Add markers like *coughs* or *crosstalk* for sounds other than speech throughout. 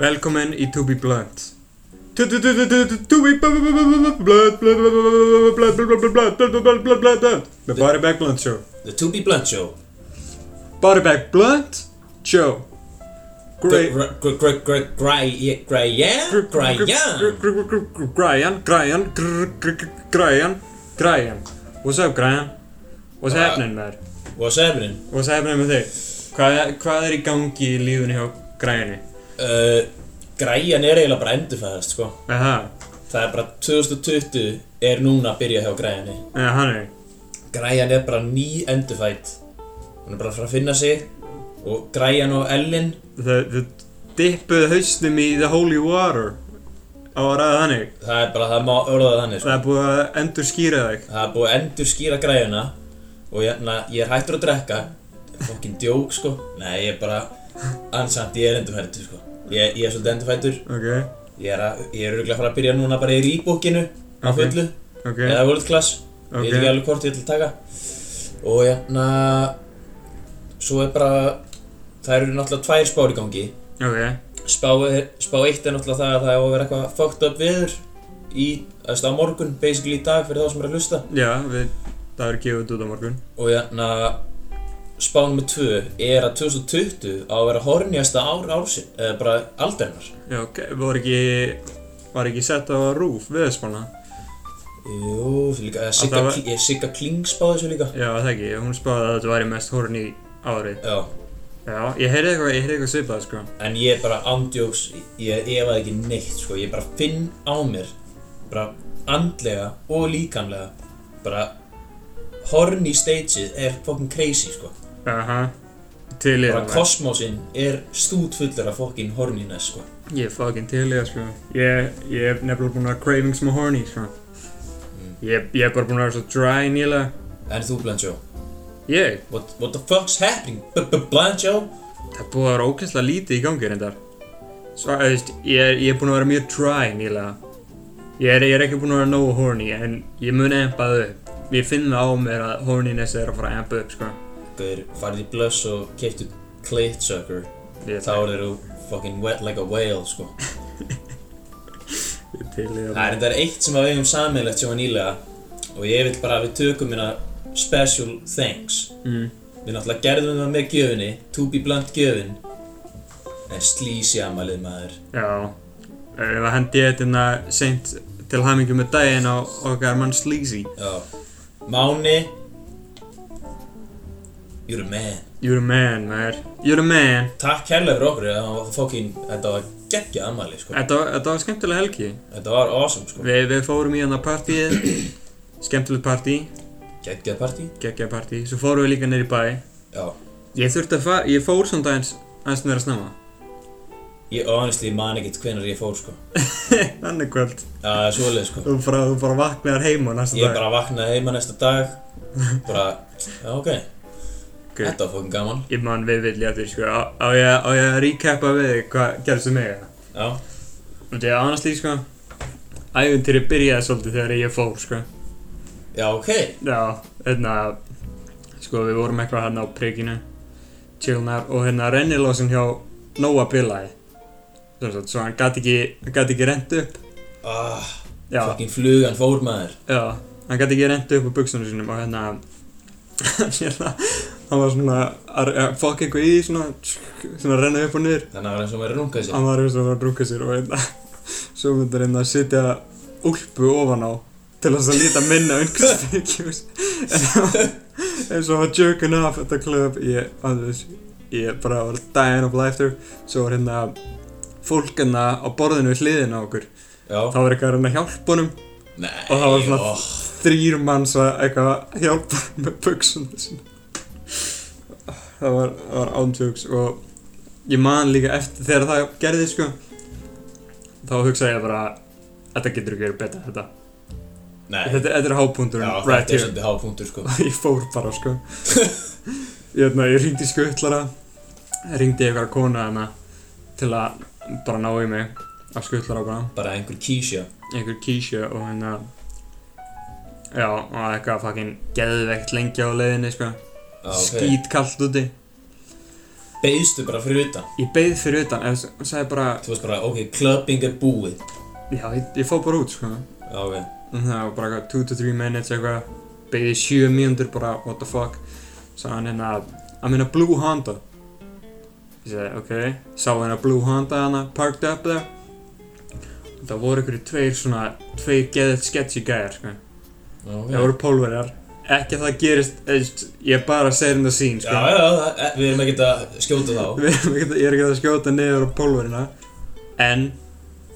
Velkomin í To Be Blunt To to- to- to- to- to- to be blunt blunt blunt blunt blunt blunt blunt blunt blunt blunt blunt blunt The Body Bag Blunt Show The To Be Blunt Show Body Bag Blunt Show Great Græja Græja Brian, Brian, Brian, Brian What's up, Brian? What's Hvað? happening, maður? What's happening? What's happening með þig? Hvað, hvað er í gangi í lífunni hjá Brianni? Uh, græjan er eiginlega bara endurfæðast sko Aha, Það er bara 2020 er núna að byrja hjá græjanni eða hann er Græjan er bara ný endurfætt Hún er bara að fara að finna sig Og græjan og Ellen Þau þau dippuðu hausnum í the holy water á að ræða þannig Það er bara, það má orðað þannig sko það er búið að endur skýra þig Það er búið að endurskýra græjuna Og hérna, ég er hættur að drekka Fokkin djók sko Nei, ég er bara Ansamt, ég er endurfættur sko Ég, ég er svolítið endurfættur ok, Ég er, að, ég er örugglega að fara að byrja núna bara í rýbókinu á Ok. fullu, ok, eða world class Ok. ég veit ekki alveg hvort ég ætla að taka og hérna svo er bara það eru náttúrulega tvær spár í gangi ok spá, er, spá eitt er náttúrulega það að það á að vera eitthvað fucked up viður í, þú veist, á morgun, basically í dag fyrir þá sem er að hlusta já, við, það verður gefið út út á morgun og hérna spá nummer tvö er að 2020 á að vera horniasta ár ársin eða bara aldarinnar já, ok, var ekki var ekki sett á rúf viðspána jú, því líka, eða það Sigga, var- var... ég, Sigga Kling spáði þessu líka já, það ekki, hún spáði að þetta væri mest horn í árið já, já, ég heyrði eitthvað, ég heyrði eitthvað svipað sko En ég er bara ándjóks, ég efaði ekki neitt, sko, ég bara finn á mér, bara andlega og líkamlega, bara horny stageið er fokkin crazy, sko. aha, til í það Bara maður. kosmósinn er stútfullur af fokkin horniness, sko. ég er fucking til í það sko ég, ég er nefnilega búin að cravings með horny sko ég, ég er bara búin að vera svo dry nýlega En þú, Blancho, Ég? what, what the fuck's happening, B -b Blancho? Það er búið að vera ókvæmslega lítið í gangi reyndar. Svo, eh, þú veist, ég er, ég er búinn að vera mjög dry nýlega. Ég er, ég er ekki búinn að vera nógu horny, en ég mun empa það upp. Ég finn það á mér að horniness er að fara að empa upp, sko. Guður, farið í blöss og keiptu clit sucker, Ég, þá er þeir fokkin wet like a whale, sko. ég til í það. Það er þetta eitt sem að við hefum sammeilegt sem var nýlega og ég vil bara að við tökum hérna special thanks Mm. Við náttúrulega gerðum það með gjöfinni, to be blunt gjöfin en slísi amalið maður Já. Eh, Ef að hendi ég þetta seint til hamingu með daginn á okkar mann Sleazy. Já Máni You're a man You're a man, maður. You're a man. Takk kærlega fyrir okkur, það var fokkin, þetta var geggja amali sko Þetta, var- þetta var skemmtilega helgi. Þetta var awesome sko Við, við fórum í hann að partíið. Skemmtilegt partí. Geggjað partí Geggja partí. Svo fórum við líka neyri bæ. Já Ég þurfti að fara, ég fór svona aðeins, aðeins meira snemma. *laughs* Ég honestly man ekkert hvenar ég fór sko Þannig kvöld. Já, það er svoleið sko Þú bara, þú bara vaknaðar heima næsta Ég dag. bara vaknaði heima næsta dag *laughs* bara, já ok, Guð. þetta var fokkin gaman Ég man við vilja eftir, sko, á, á, ég, á ég að recapa við þig hvað gerðist um mig eða? Já, Þetta er annars líf, sko, ævintýri byrjaði svolítið þegar ég fór, sko. já ok, Já, hérna, sko, við vorum eitthvað hérna á prikinu, chillnar, og hérna rennilósin hjá Nóa bilaði. Sem sagt, svo hann gæti ekki, hann gæti ekki rent upp. ah, Já, fokkin flugan fór maður Já, hann gæti ekki reyndu upp á buksunum sínum og hérna *laughs* hérna, hann var svona að að fokka eitthvað í því svona svona að renna upp og niður Þannig að það var eins og maður rungað sér hann var eins og var að drúka sér og hérna *laughs* svo myndi hann hérna að setja úlpu ofan á til þess að líta minna unguspekjus en það var- eins og hann var jerking off at the club ég, andrið, ég bara var dying of laughter svo var hérna fólk hérna á borðinu við hliðina á okkur þá Já, var eitthvað að reyna að hjálpa honum nei, og það var svona- oh, þrýr manns að eitthvað að hjálpa með buksuna sinna það var, það var ántjóks og ég man líka eftir þegar það gerði sko þá hugsaði ég bara þetta getur ekki verið betra þetta nei þetta, þetta er Já, hápunkturinn þetta right er here svolítið hápunktur sko og ég fór bara sko ég, hefna, ég ringdi skuttlara ringdi eitthvað kona hana til að bara ná í mig af skuttlara bara Bara einhver kísja einhver kísja og hérna já, og eitthvað fucking geðveikt lengi á leiðinni, sko Já, ok skítkallt úti beigstu bara fyrir utan Ég beið fyrir utan, eða s- sagði bara, Þú veist bara, ok, clubbing er búið já, ég, ég fó bara út, sko. Já, ok En það var bara eitthvað 2 to 3 minutes eitthvað, beigði 7 mínútur bara, what the fuck. Sagði hann hérna, I'm in a blue Honda. Ég sagði, ok, sá hérna blue Honda hana, parked up there. Og það voru einhverju tveir svona, tveir geðið sketchy gæjar, sko. Já, ok Það voru pólverjar. Ekki að það gerist, eðst, ég er bara að segja þetta sín, Já, sko. já, já, það- e- við erum ekkert að skjóta þá Við erum ekkert, ég er ekkert að skjóta niður á pólverina En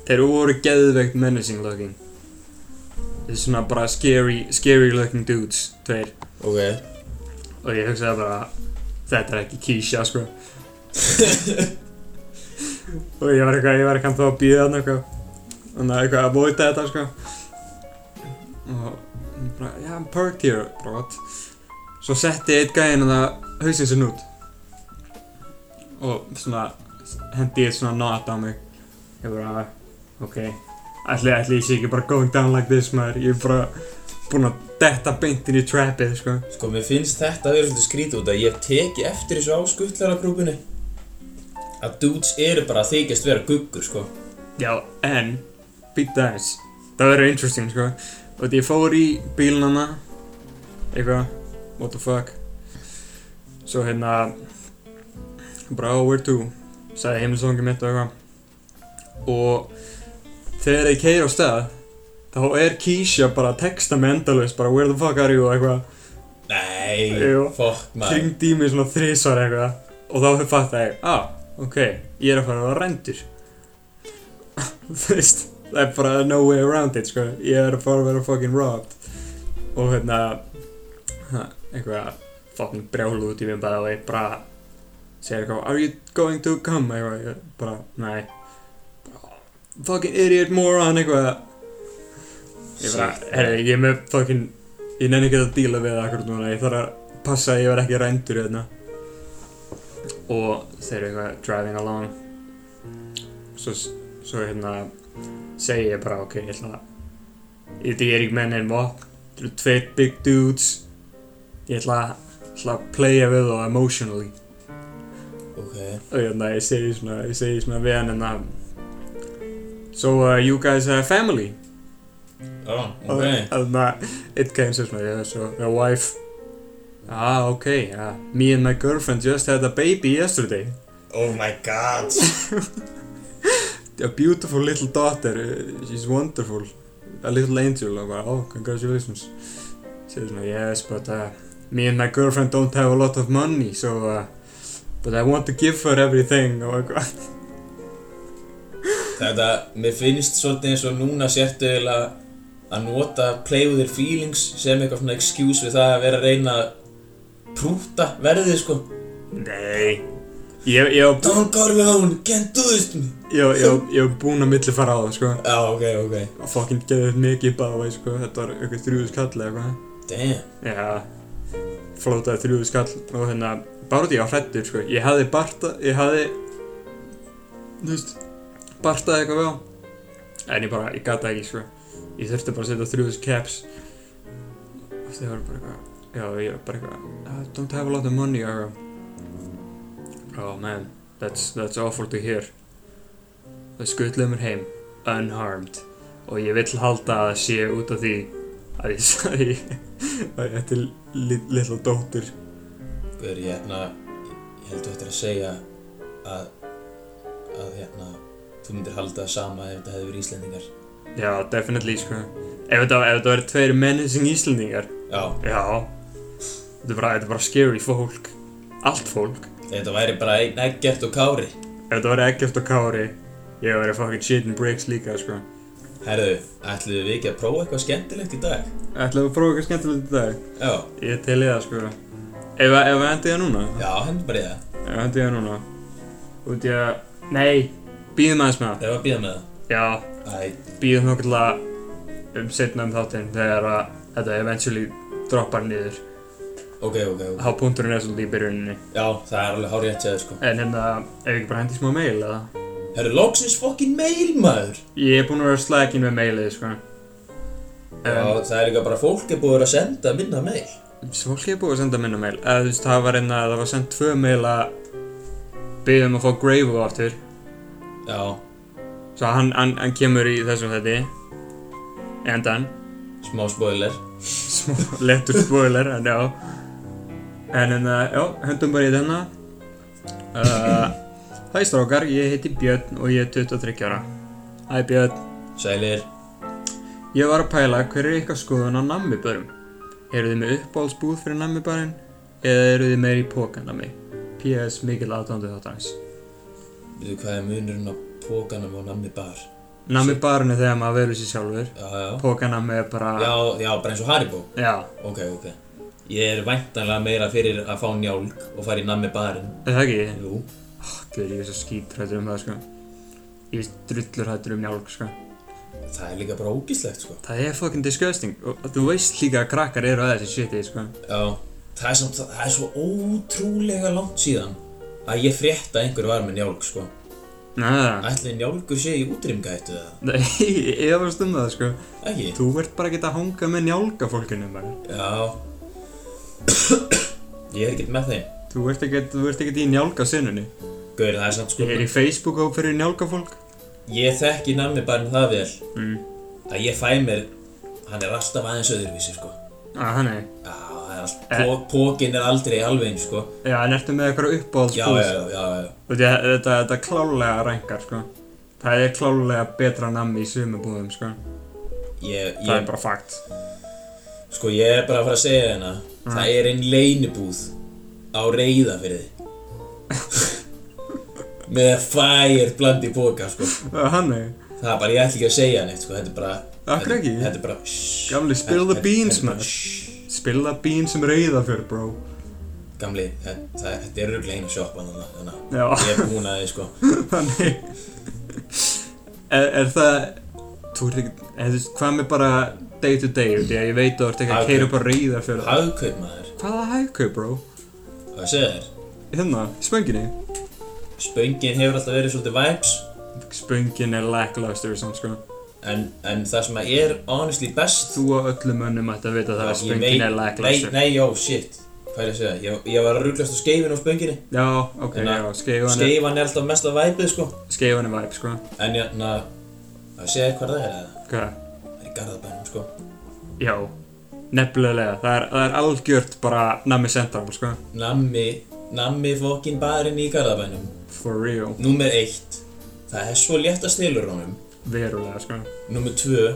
þeir voru geðveikt menacing looking Þeir eru svona bara scary, scary looking dudes Tveir Ok Og ég hugsaði bara Þetta er ekki Keisha sko Og ég var eitthvað, ég var eitthvað þá að býða þarna eitthvað Þannig að eitthvað að móta þetta sko Og hún bara, já, I'm parked here Bara what Svo setti ég eitt gæðin það hausinn sinn út Og svona hendi ég svona not á mig Ég bara, ok Ætli, ætli ég sé ekki bara going down like this maður Ég er bara búinn að detta beintin í trappið sko Sko, mér finnst þetta að vera svolítið skrítið út að ég teki eftir þessu á skuttlarargrúpinni að dudes eru bara að þykjast vera guggur, sko Já, en Býta aðeins Það verður interesting, sko Og því ég fór í bílnana Eitthvað What the fuck Svo hérna Bara, oh, where to Sæði heimilsóngi mitt og eitthvað Og Þegar ég keir á stað Þá er Keisha bara að texta með endalaust Bara, where the fuck are you og eitthvað Nei, Jú. fokk maður Hringdi í mig svona þrísvar eitthvað Og þá fatt ég, ah, ok, ég er að fara að vera rendur *laughs* Þú veist, það er bara no way around it, sko Ég er að fara að vera fucking robbed Og hérna, ha, eitthvað fucking brjálu út í mér bara og ég bara segir eitthvað, are you going to come? Eitthvað, ég bara, nei Fucking idiot moron, eitthvað Ég bara, Shit. herri, ég er með fucking Ég nenni ekki að díla við það akkur núna Ég þarf að passa að ég verð ekki rændur hérna Og þeir eru eitthvað driving along Svo, svo hérna segi ég bara, ok, ég ætla að Ég því ég er ekki með neinn vopn Þeir eru tveir big dudes Ég ætla að, ætla að playa við þá emotionally Ok, Og hérna, ég segi svona, ég segi svona við hann hérna So uh, you guys have family? já, ok And uh, it came says my yeah, so my wife. Ah, okay. Yeah. Me and my girlfriend just had a baby yesterday. Oh my god A beautiful little daughter. uh, She's wonderful. A little angel. I'm like, oh, congratulations. Says my yes, but uh, me and my girlfriend don't have a lot of money, so. Uh, but I want to give her everything. Oh my god. Þetta, mér finnst svolítið eins og núna sértu eiginlega að nota play with your feelings sem eitthvað svona excuse við það að vera að reyna að prúta verðið, sko Nei. Ég, ég, var bú- Don't go alone, can't do this to me ég, var- ég, var- ég var búinn að milli fara á það, sko. Já, ok, ok Og fucking geðið mikið báði, sko. Þetta var ykkur þrjúðus kall eða eitthvað. Damn Já, flótaði þrjúðu skall og hérna, bara því að hrættur, sko. Ég hafði barta, ég hafði, þú veist, bartaði eitthvað vel. En ég bara, ég gata ekki, sko. Ég þurfti bara að setja þrjúðu caps. Og það var bara eitthvað, já, ég var bara eitthvað, I don't have a lot of money, og eitthvað. Oh man, that's, that's awful to hear. Það skutluðu mér heim, unharmed. Og ég vill halda að það sé út af því að ég sagði Það er til li litla dóttir Guður, ég hérna, ég held þú ættir að segja að, að hérna, þú myndir halda það sama ef þetta hefði verið Íslendingar. Já, definitely, sko Ef þetta, ef þetta verið tveir menacing Íslendingar Já, Já Þetta er bara, þetta er bara scary fólk Allt fólk ef þetta væri bara einn ekkert og kári. Ef þetta verið Eggert og Kári Ég hef verið fucking shit and bricks líka, sko Herðu, ætlum við ekki að prófa eitthvað skemmtilegt í dag? Ætlaðu að prófa eitthvað skemmtilegt í dag? Já, Ég til í það, sko Ef að ef að hendi ég það núna? já, hendur bara í það. Ef að hendi ég það núna Út í að Nei Býðum aðeins með Ef að býða með það. það Já, Æ, býðum okkur til að um setna um þáttinn þegar að þetta eventually droppar niður ok, ok, ok. hápunkturinn er svolítið í byrjuninni Já, það er alveg hárið að tjáðu, sko. en hérna, ef ekki bara hendi í smá mail eða? Herðu, loksins fokkin mail, maður! ég er búinn að vera slækin með mailið sko Já, um, það er líka bara fólk er búið að vera að senda minna mail. hérna, svo fólk er búið að senda minna mail eða þú veist, það var einna, það var sendt tvö maila byggðum um að fá Gravo aftur Já, svo hann, hann, hann kemur í þessum þetta endan smá spoiler *laughs* smá lettur spoiler en já en en já, höndum bara í þennan uh, *clears throat* Hæ strákar, ég heiti Björn og ég er 23 ára Hæ Björn, Sælir, ég var að pæla hver er ykkar skoðun á nammibörum Eru þið með uppbólsbúð fyrir nammibörin eða eru þið meir í pókan af mig P.S. mikil aðdóndu þáttanins veitu hvað er munurinn á pókanum og nammi bar? Nammibarinn er þegar maður velur sér sjálfur Já, já, Pókanammi er bara já, já, bara eins og Haribo já. Ok, ok Ég er væntanlega meira fyrir að fá njálg og fara í nammi barinn Er það ekki? Jú, Gauður, ég er svo skítrættur um það sko Ég er drullurhættur um njálg sko það er líka bara ógíslegt sko Það er fucking disgusting og og þú veist líka að krakkar eru að þessi shiti, sko. Já, það er, samt, það er svo ótrúlega langt síðan að ég frétta að einhver var með njálg sko Næ, *laughs* Ætli njálgur sé í útrýmgættu eða? nei, ég efast um það, sko. Ekki? Þú ert bara að geta að hanga með njálga fólkinu, bara. Já *coughs* Ég er ekkert með þeim Þú ert ekkert, þú ert ekkert í njálga sinnunni. Gaur, það er samt sko Ég er í Facebook og fyrir njálga fólk. Ég þekki nammi bara það vel Mm. að ég fæ mér hann er alltaf aðeins öðruvísi sko Ah, nei. Já, það er alltaf Eh. pó, Pókin er aldrei alveg eins sko Já, en ertu með eitthvað Já, uppáhaldsbúð? já, já, já, já. Þú veit, ég- þetta, þetta klálega rængar, sko. Það er klálega betra nammi í sömu búðum, sko. Ég, Það er ég, bara fakt. sko, ég er bara að fara að segja hérna Mm. Það er einn leynibúð á reyða fyrir þið Með fire bland í póka sko Það er hann, nei. Það er bara, ég ætla ekki að segja neitt sko, þetta er bara Akkur þetta- ekki? Þetta er bara shhh, Gamli, spill the þetta- beans, þetta er bara, maður. shhh. Spilla bín sem reyða fyrir, bro. Gamli, það- það- þetta er röglega einu sjoppa þannig þannig að Já. *laughs* ég er búin að þið sko Þannig er, er það Þú ert ekki eða þú veist, Hvað með bara day to day Því að ég veit að þú ert ekki að Hagkaup. keira upp að reyða fyrir það Hagkaup maður, Hvaða hægkaup bro? og það segir þér Hérna, spönginni Spöngin hefur alltaf verið svolítið vibes Spöngin er lackluster samt sko En, en það sem að er honestly best Þú og öllum önnum ætti að vita það að Ég spöngin veit- er Nei, lackluster nei, já, shit Hvað er ég að segja? Ég, ég var að rugglast á skeifinu á spönginni Já, ok, Hérna, já, skeifan er, Skeifan er alltaf mest að væpið sko skeifan er vibe sko En hérna, jæna, það segir þér hvað það er eða? Hvað? Það er í garðabænum sko Já, nefnilega Það er, það er algjört bara nami central sko Nammi, nammi fokkin barinn í garðabænum For real, Númer eitt Það er svo létt að stelur honum verulega sko Númer tvö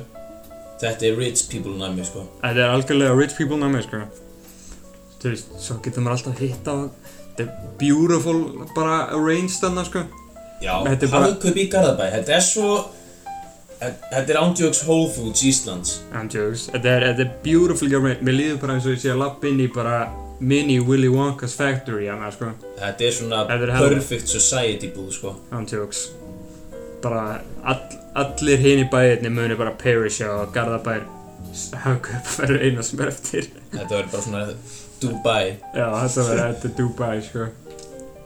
Þetta er rich people nammi sko Þetta er algjörlega rich people námið, sko. Þú veist, svo getur maður alltaf hitt á Þetta er beautiful, bara arranged þarna, sko. Já, Þetta er bara- hagkaup í garðabæ Þetta er svo Þetta þetta er ándjóks Whole Foods Íslands I'm jokes. Þetta er, þetta er beautifully arranged. Mér líður bara eins og ég sé að lappa inn í bara mini Willy Wonka's factory, hana, sko. Þetta er svona Þetta er hella. perfect society búð sko I'm jokes. Bara all, allir hinn í bæðinni muni bara perish á Garðabær hanga upp verður eina sem er eftir. Þetta verður bara svona Dubai Já, þetta verður, þetta er Dubai, sko.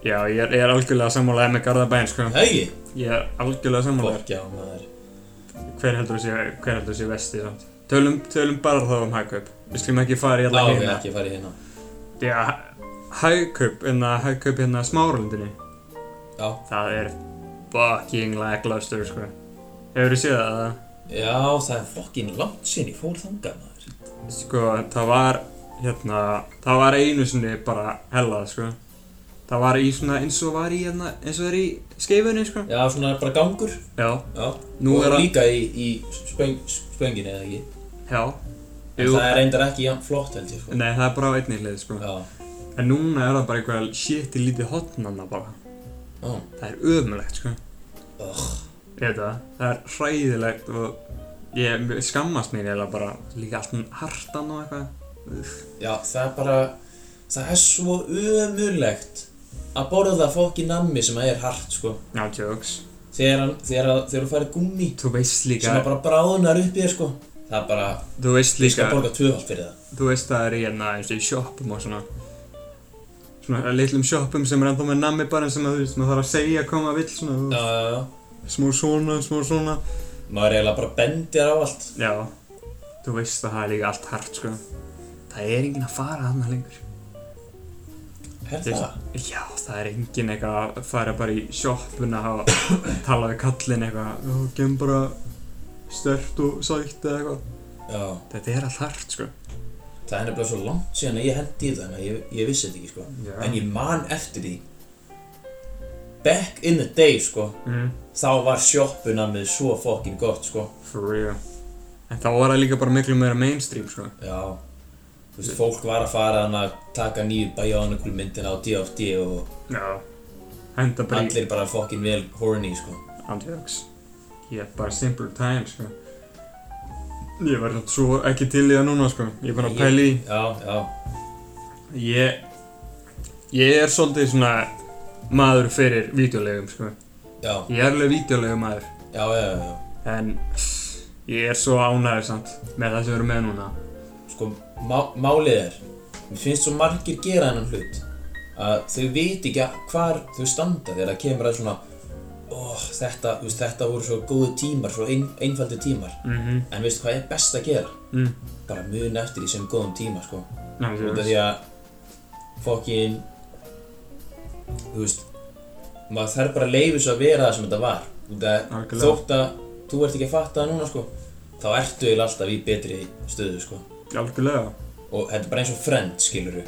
Já, ég er, ég er algjörlega sammálaðið með Garðabæn, sko. Hegi, Ég er hérna. algjörlega sammálaðið. fokkjá maður Hver heldur þú sé, hver heldur þú sé vestið samt? Tölum, tölum bara þá um hagkaup. Við skulum ekki fara í Lá, alla við hérna. ekki að fara í hérna Já, hagkaup, en að hagkaup hérna á smáralundinni, Já, það er fucking lackluster, sko. Hefur þú séð það? eða? já, það er fokkin langt sinn Ég fór þangað maður Sko, það var, hérna, það var einu sinni bara hellað, sko. Það var í svona, eins og var í, hérna, eins og er í skeifunni, sko. Já, svona bara gangur Já, Já, nú og er að, líka í, í spöng, spönginni eða ekki já. En Jú, það er reyndar ekki jafn flott held ég sko nei, það er bara á einni hlið, sko. Já, En núna er það bara eitthvað shit í lítið hotnanna bara. já, Það er ömulegt, sko. Ugh. Ég veit það, það er hræðilegt og ég ég skammast mér eða bara líka allt um hartan og eitthvað. já, það er bara Það er svo ömurlegt Að borða fokki nammi sem er hart sko Já, jokes. Þegar, hann- þegar, að- þegar þú færir gummi Þú veist Sem líka, að bara bráðnar upp í þér sko Það er bara, þú veist þú líka, skal borga tvöfald fyrir það þú veist það er í hérna eins og í sjoppum og svona svona litlum sjoppum sem er ennþá með nammi bara sem að þú veist, maður þarf að segja að koma vill svona, Já, já, já smá svona, smá svona. Maður eiginlega bara bendir á allt Já, þú veist að það er líka allt hart, sko. Það er enginn að fara hana lengur. Er Ég- það? Já, það er engin eitthvað að fara bara í sjoppuna og *coughs* tala við kallinn eitthvað og gem bara stert og sætt eða eitthvað Já, Þetta er allt hart, sko það er nefnilega svo langt síðan að ég hendi í það, þannig að ég, ég vissi þetta ekki, sko. Já. En ég man eftir því. Back in the day, sko, mm, þá var sjoppuna með svo fokkin gott, sko. For real En þá var það líka bara miklu meira mainstream, sko Já, þú veist, fólk var að fara hann að taka nýju bæjáðanakul myndina á D.O.D. og Já Henda bara í allir bara fokkin vel horny, sko. Andjóks Ég er bara simple time, sko Ég var náttúrulega svo ekki til í það núna, sko Ég er búinn að Ég- pæla í Já, já, Ég Ég er svolítið svona maður fyrir vídeolegum, sko já, Ég er alveg vídeolegum maður já, já, já, já. En ég er svo ánægður samt með það sem við erum með núna. Sko, má, málið er, mér finnst svo margir gera hennan hlut að þau veit ekki að hvar þau standa þegar það kemur að svona oh, þetta, þú veist, þetta voru svo góðu tímar, svo ein, einfaldi tímar Mm -hmm. en veistu hvað er best að gera? Mm. Bara muna eftir því sem góðum tíma, sko Ná, út af því að fokkin þú veist maður þarf bara að leifu svo að vera það sem þetta var út af að Algjörlega. þótt að þú ert ekki að fatta það núna sko þá ertu eiginlega alltaf í betri stöðu sko Algjörlega. og þetta er bara eins og friend skilur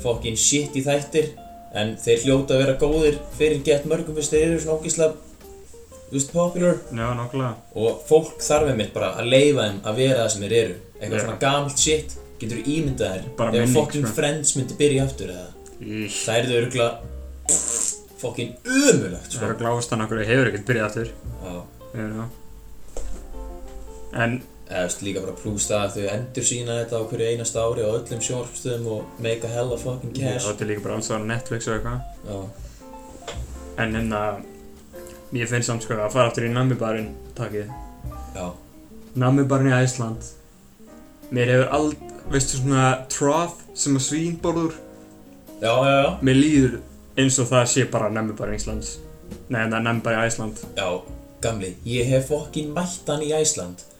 fokkin shit í þættir en þeir hljóta að vera góðir fyrir gett mörgum fyrst þeir eru svona ógislega þú veist popular Já, nokkulega. og fólk þarf einmitt bara að leifa þeim að vera það sem þeir eru eitthvað Já. svona gamalt shit getur ímyndað Bara þær ef minning, fokkin sko. friends myndi byrja aftur eða Íh. Það er þau örgulega fokkin ömulegt, Það sko. er að gláðast hann okkur, hefur ekkert byrjað aftur. Já. Hefur það. En, Eða, þú veist, líka bara plús það að þau endur sína þetta á hverju einasta ári á öllum sjónarpstöðum og make a hell of fucking ég cash. átti líka bara alls á Netflix og eitthvað. Já. En hérna, ég finn samt sko að fara aftur í Namibarinn, takkið. Já. Namibarinn í Æsland. Mér hefur ald, veistu svona trough sem að svín borður. Já, já, já. Mér líður eins og það sé bara Namibarinn í Íslands. Nei, það er Namibarinn í Æsland. Já, gamli, ég hef fokkin mætt hann í Æsland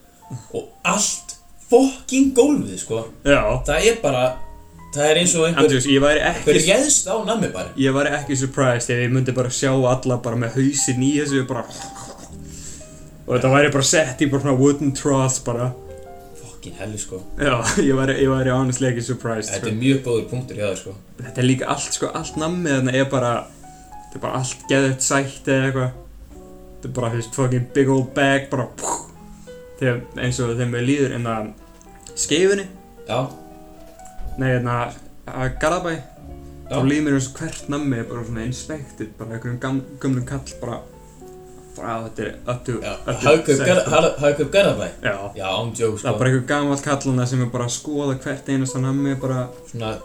og allt fokkin gólfið, sko. Já, Það er bara, það er eins og einhver, Andrius, ég væri einhver ekki geðst á nammi bara. Ég væri ekki surprised ef ég myndi bara sjá alla bara með hausin í þessu bara Og þetta væri bara sett í bara svona wooden tross bara Fokkin helli, sko. Já, *laughs* ég væri, ég væri honestly ekki surprised Þetta sko. er mjög góður punktur hjá þér, sko. Þetta er líka allt sko, allt nammið þarna er bara Þetta er bara allt geðveitt sætt eða eitthvað Þetta er bara, þú veist, fucking big old bag bara Þegar, eins og þegar mér líður inn að skeifunni Já, Nei, hérna, að Garabæ já. þá líður mér eins og hvert nammi er bara svona inspektið, bara einhverjum gam, gömlum kall bara bara að þetta er öttu Já, Hagkaup Garð- Hall- Hagkaup Garðabæ. sko. já, Já, ándjók, það sko. er bara einhver gammal kallana sem er bara að skoða hvert einasta nammi bara, svona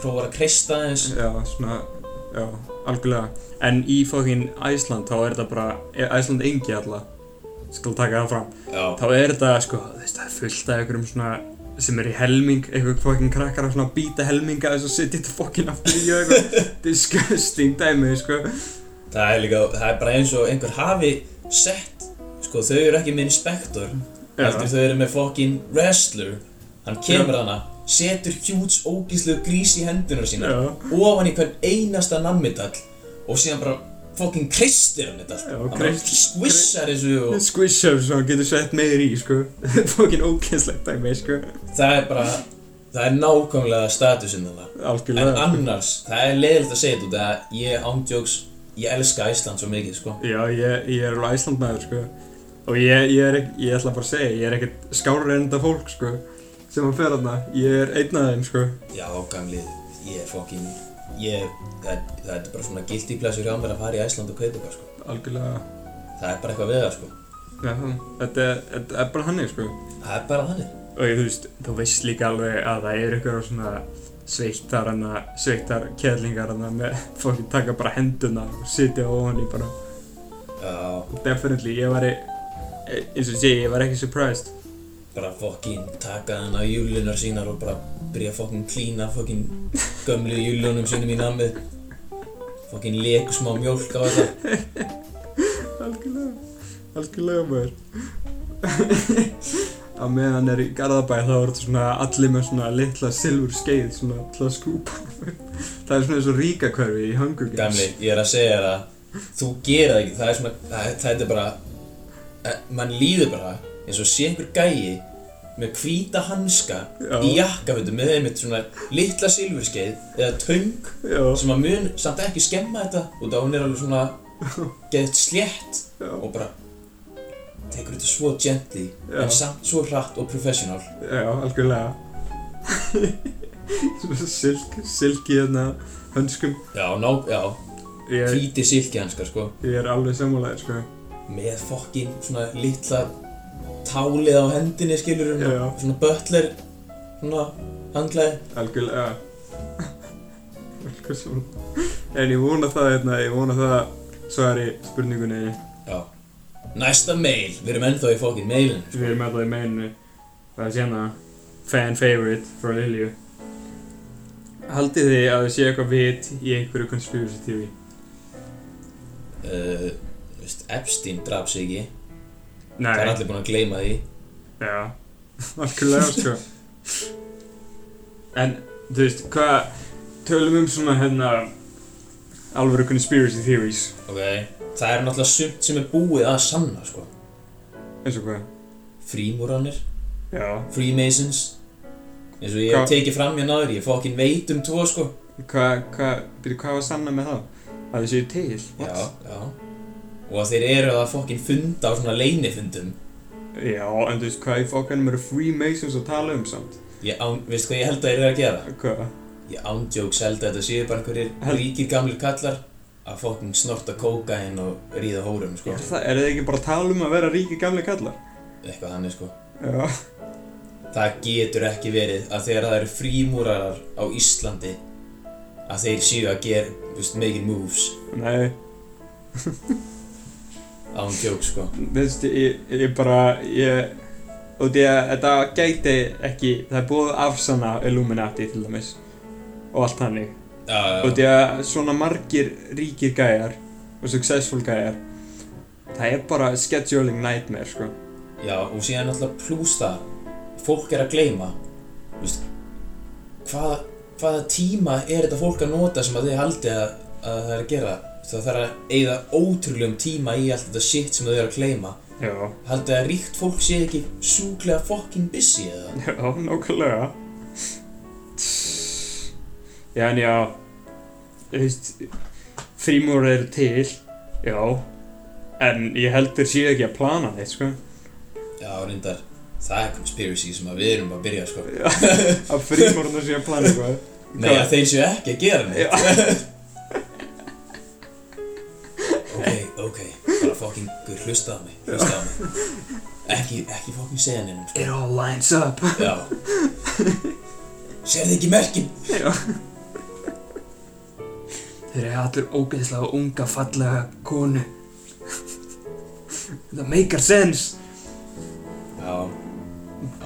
prófar að kreista aðeins já, svona já, algjörlega, en í fokkin Æsland þá er þetta bara, er Æsland engi alltaf, skal taka það fram já, þá er þetta, sko, þú veist, það er fullt af einhverjum svona sem er í helming, einhver fokkin krakkar að svona býta helminga þess að setja þetta fokkin aftur í og eitthvað disgusting dæmi, sko það er líka, það er bara eins og einhver hafi sett, sko þau eru ekki með inspektor, heldur þau eru með fokkin wrestler, hann kemur hana, setur hjúts ógíslu grís í hendunar sína, Já. ofan í hvern einasta nammidall og síðan bara fokkin kreistir hann þetta, Já, hann bara kreist- skvissar þessu og Squishum sem hann getur sett meir í, sko *laughs* Fokkin ókynslegt dæmi, sko það er bara, það er nákvæmlega statusinn þarna. En Algjörlega annars, það er leiðilegt að segja þetta út að ég ándjóks, ég elska Ísland svo mikið, sko. Já, ég, ég er alveg æslandmaður, sko Og ég, ég er ekki, ég ætla bara að segja, ég er ekkert skárið en þetta fólk, sko Sem að fer þarna, ég er einn af þeim, sko Já, gamlið, ég er fokkin, ég, það, það er bara svona guilty pleasure hjá mér að fara í Æsland og kaupa eitthvað, sko. Algjörlega Það er bara eitthvað við það, sko. Já, þetta, er- þetta er bara hannig, sko Það er bara þannig. Og ég, þú veist, þú veist líka alveg að það eru ykkur svona sveittar hana, sveittar kjæðlingar hana með *laughs* fólki taka bara henduna og sitja ofan í bara Já, Definitely, ég var eins og ég segi, ég var ekki surprised bara fokkin taka þann á júlunar sínar og bara byrja að fokkin klína fokkin gömlu júlunum sínum í namið. Fokkin leku smá mjólk á þetta. Algjörlega, algjörlega maður *laughs* Á meðan er í Garðabæ þá er þetta svona allir með svona litla silfur skeið svona til að skúpa *laughs* Það er svona eins og ríka hverfi í Hunger Games Gamli, ég er að segja þér að þú gerir það ekki, það er svona, það, það er bara, eh, mann líður bara eins og sé einhver gæi með hvíta hanska Já. í jakkafötum með einmitt svona litla silfurskeið eða töng Já, sem að mun samt ekki skemma þetta út af hún er alveg svona geðt slétt Já. og bara tekur þetta svo gently Já. en samt svo hratt og professional já, algjörlega *laughs* Svona silk, silki hérna hönskum já, ná, já, Ég, hvíti silkihanskar sko ég er alveg sammálaðir sko með fokkin svona litla tálið á hendinni skilur Já, já. svona butler svona handlaði Algjörlega *laughs* Algjörlega sammála En ég vona það hérna, ég vona það svar í spurningunni já næsta mail, við erum ennþá í fokkin sko. mailin Við erum alltaf í meinu Það er sérna Fan favorite frá Lilju Haldið þið að þið sé eitthvað vit í einhverju conspiracy TV? uh, veist, Epstein draf sig ekki Nei, það er allir búin að gleyma því já *laughs* Algjörlega sko En, þú veist, hvað Tölum um svona hérna Alvöru conspiracy theories ok, það er náttúrulega sumt sem er búið að sanna sko eins og hvað frímúranir, Já freemasons eins og ég hef Hva- tekið fram hérna áður, ég fokkin veit um tvo sko Hvað, hvað, byrju, hvað var sanna með það? Að þið séu til? já, já og að þeir eru að fokkin funda á svona leynifundum Já, en þú veist, hvað í fokkanum eru Freemasons að tala um samt? Ég án, veist hvað ég held að þeir eru að gera? Hvað? Ég ándjóks held að þetta séu bara einhverjir Hel- ríkir gamlir kallar að fokkin snorta kókain og ríða hórum, sko. Er, það, er þið ekki bara að tala um að vera ríki gamli kallar? Eitthvað þannig, sko. Já. Það getur ekki verið að þegar það eru frímúrarar á Íslandi að þeir séu að gera, þú veist, making moves Nei, ándjóks, sko. þú veist, ég, ég bara, ég... Og því að þetta gæti ekki, það er búið að afsanna Illuminati til dæmis og allt hannig. Já, já, Og já. því að svona margir ríkir gæjar og successful gæjar, það er bara scheduling nightmare, sko. Já, og síðan náttúrulega plús það, fólk er að gleyma, þú veist, hvaða, hvaða tíma er þetta fólk að nota sem að þið haldi að, að það er að gera? Það þarf að eigða ótrúlegum tíma í allt þetta shit sem þau eru að gleyma. Já. Haldið að ríkt fólk sé ekki sjúklega fucking busy eða? Já, nákvæmlega Já, en já Þú veist Frímúrar eru til Já En ég heldur síðan ekki að plana neitt, *laughs* sko Já, reyndar, það er conspiracy sem að við erum að byrja, sko. Já, Að frímúrarna séu að plana eitthvað Nei, að þeir séu ekki að gera neitt. ok, ok, bara fucking, guð, hlusta á mig, hlusta á mig. Ekki, ekki fucking segja neinum, sko. It all lines up Já. Serðu ekki merkin? Já Þeir eru allir ógeðslega unga fallega konu Það make sense Já.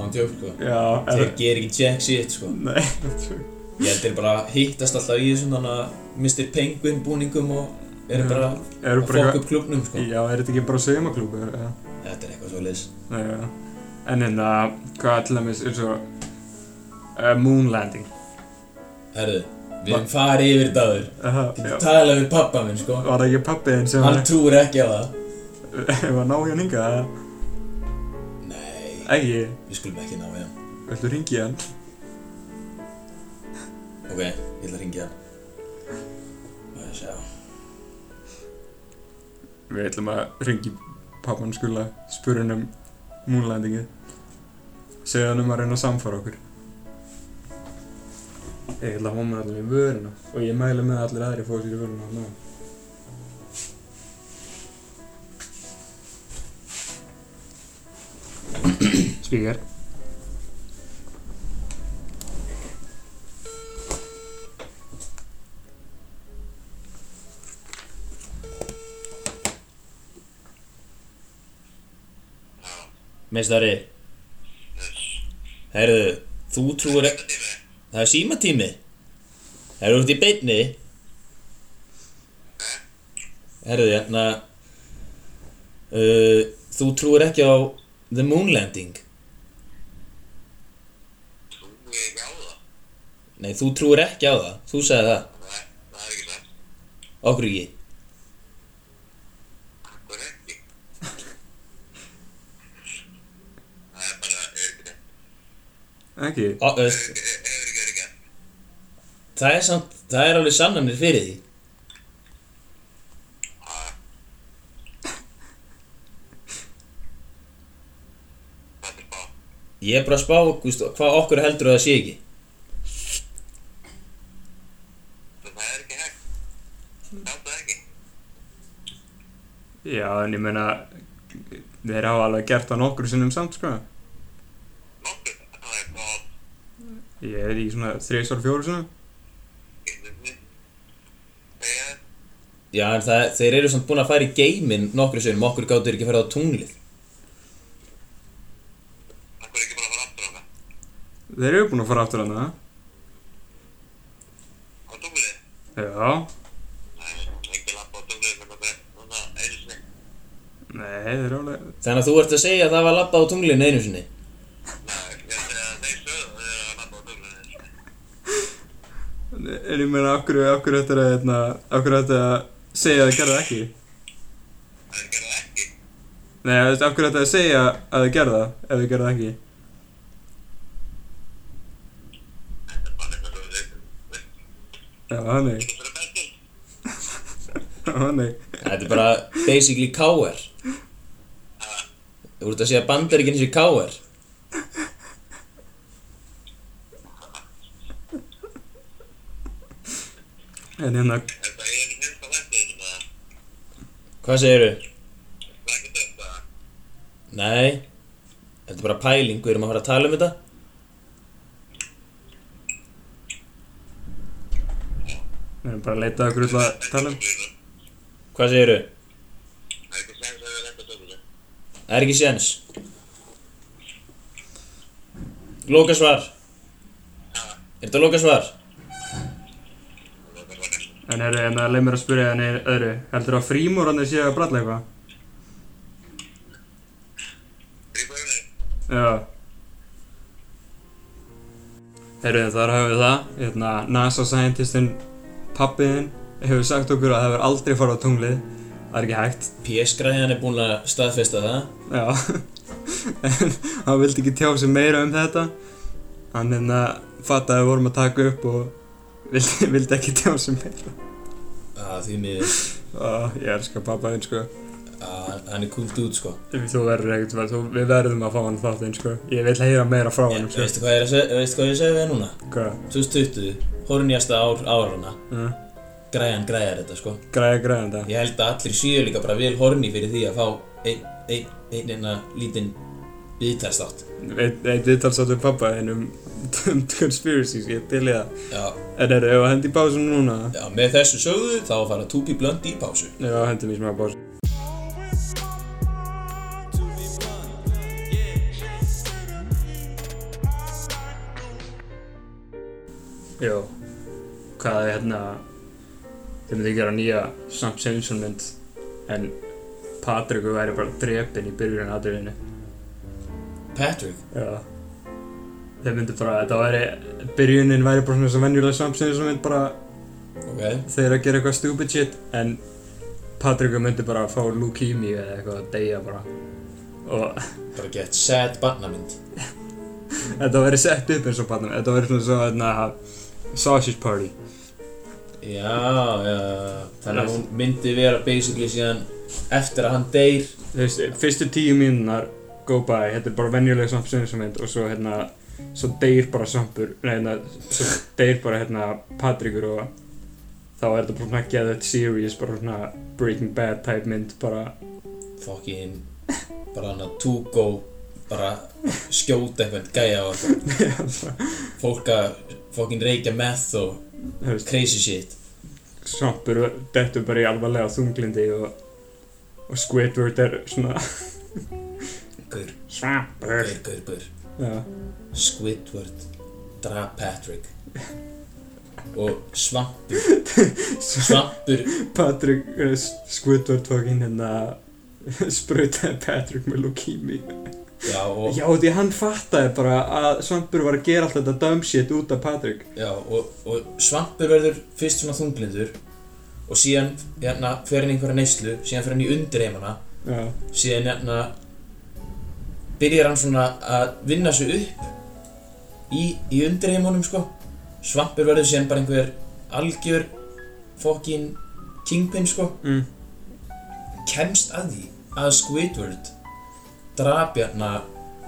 Án djók, sko. Já, Þeir ger ekki jack shit, sko. Nei, *laughs* þetta er Ég held þeir bara hittast alltaf í þessum þannig að Mr. Penguin búningum og eru bara að Eru bara fokka eitthvað upp klubnum, sko. Já, er þetta ekki bara saumaklúbu? eða? Þetta er eitthvað svo leiðis. Já, já. En hérna, hvað til dæmis eins og uh, Moon Landing Herðu, við erum farið yfir þetta áður. uh, Getur talað við pappa minn, sko. Var það ekki pappi þinn sem Hann var, trúir ekki á það. *laughs* var nájón hinga? Nei, Ægi, við skulum ekki ná við hann. viltu ringi hann? Ok, ég ætla að ringja hann. Og ég sjá. Við ætlum að ringi pappan skula spura hann um Moon Landingið segja hann um að reyna að samfara okkur Ég ætla að fá með allir í vöruna og ég mæli með að allir aðri fóðu sér í vöruna hann Spíkar Meistari. Herðu, þú trúir ekki... Það er símatími. Herðu, þú ert í beinni. Herðu, hérna... Uh, þú trúir ekki á The Moon Landing. Trúi ekki á það. Nei, þú trúir ekki á það. Þú sagði það. Nei. Okkur ekki Hvað er ekki? Það er bara, örgja. Ekki? Ó, þú veist, Örgja, örgja. Það er samt, það er alveg sannanir fyrir því Hvað er bá? Ég er bara að spá, þú veist, hvað okkur heldur að það sé ekki Það er ekki hægt. Sjáttu það ekki. Já, en ég meina, þeir hafa alveg gert það nokkur sinnum samt, sko. Nokkur. Það er bá. Ég er í svona þrísvar fjóru sinnum. Íslandi. Þegar. Já, en það, þeir eru samt búin að fara í geiminn nokkru sinnum, okkur gáttur ekki að fara á tunglið Það er ekki bara að fara aftur á það. Þeir eru búin að fara aftur hana. Á tunglið. Já, Það er ekki lappa á tunglið. Það er bara, núna, einu sinni. nei, þeir eru alveg... Þannig að þú ert að segja að það var labbað á tunglinu einu sinni Nei, ég ætla að þeir sögðu að þeir eru að lappa á tunglið. einu sinni. En ég meina, okkur, okkur þetta er að, hérna, okkur þetta að segja að þeir gerða ekki. Það er gerðið ekki. Nei, þú veist, okkur þetta að segja að þeir gerða, ef þeir gerða ekki. Þetta er bara eitthvað svo við. Já, þannig, *laughs* Þú fyrir bestil. þannig. Þetta er bara basically káer Þú ert að segja að bandaríkinn sé káer En hérna, Þetta er einu minnst á vestin. Það Hvað segiru? er ekki dött það. Nei Þetta er bara pæling, við erum að fara að tala um þetta við erum bara að leita okkur út að tala um. Það Hvað segiru? er ekki sens að við þetta tunglið. Það er ekki séns Loka svar Er þetta loka svar? Það er bara næst. En herru, hérna, leið mér að spyrja henni öðru. Heldur að frímúrarnir séu að bralla eitthvað? Þrýbörnir. Já Herru, þar höfum við það hérna, NASA scientistinn pappiðinn hefur sagt okkur að það verður aldrei fara á tunglið það er ekki hægt PS-græðan er búin að staðfesta það Já en hann vildi ekki tjá sig meira um þetta hann hérna fattaði að við vorum að taka upp og vildi, vildi ekki tjá sig meira að Ah, Því miður Já, ég elska pappaðinn sko að hann er kúlt út sko Ef þú verður ekkert verð, þú- við verðum að fá hann þáttinn sko ég vil heyra meira frá Ég- hann sko Veistu hvað, er að seg- veistu hvað ég segi við þér núna? Hvað? 2020, hornjasta ár árana Mm. Græjan græjar þetta sko Græða græða þetta Ég held að allir séu líka bara vel horni fyrir því að fá einn ein, ein, einna lítinn viðtælstátt Eitt eitt viðtalsátt við pappa þinn um, *laughs* um conspiracies, ég til í það. Já, En er það að hendi í básum núna? já, með þessu sögðu þá fara Tupi Blönd í pásu Já, hendi mér smá básum. Jó, hvað er hérna, þau myndi gera nýja Sam Simpson mynd, en Patrikur væri bara drepinn í byrjun aðriðinu. Patrick, Já Þeir myndu bara, þetta væri Byrjunin væri bara svona svo venjulega samsynið sem mynd bara ok Þeir eru að gera eitthvað stupid shit En Patrikur myndi bara að fá leukemia eða eitthvað að deyja bara Og *laughs* Bara gett sad barnamynd þetta væri sett upp eins og barnum Þetta væri svona svo hérna Sausage party Já, já, þannig að hún myndi vera basically síðan eftir að hann deyr Þú veist, fyrstu tíu mínunar Go by, þetta er bara venjulega samsynið sem mynd Og svo hérna Svo deyr bara sampur Nei, hérna Svo deyr bara hérna Patrikur og Þá er þetta bara svona Get it serious Bara svona Breaking Bad type mynd Bara *laughs* fokkin bara hann að túgó bara skjóta einhvern gæja og eitthvað. fólk að fokkin reykja meth og þú veist, crazy shit svampur dettur bara í alvarlega þunglindi og, og Squidward er svona gaur, svampur gaur, gaur, gaur já, Squidward draf Patrick og svampur svampur Patrick uh, Squidward fucking hérna *laughs* sprautaði Patrick með leukemi já og, já því hann fattaði bara að svampur var að gera alltaf þetta dumb shit út af Patrick já, og, og svampur verður fyrst svona þunglindur og síðan hérna, fer hann í einhverja neyslu síðan fer hann í undirheimana já, síðan hérna byrjar hann svona að vinna sig upp í, í undirheimunum sko svampur verður síðan bara einhver algjör fokkin kingpin sko mm. kemst að því að Squidward drapi hérna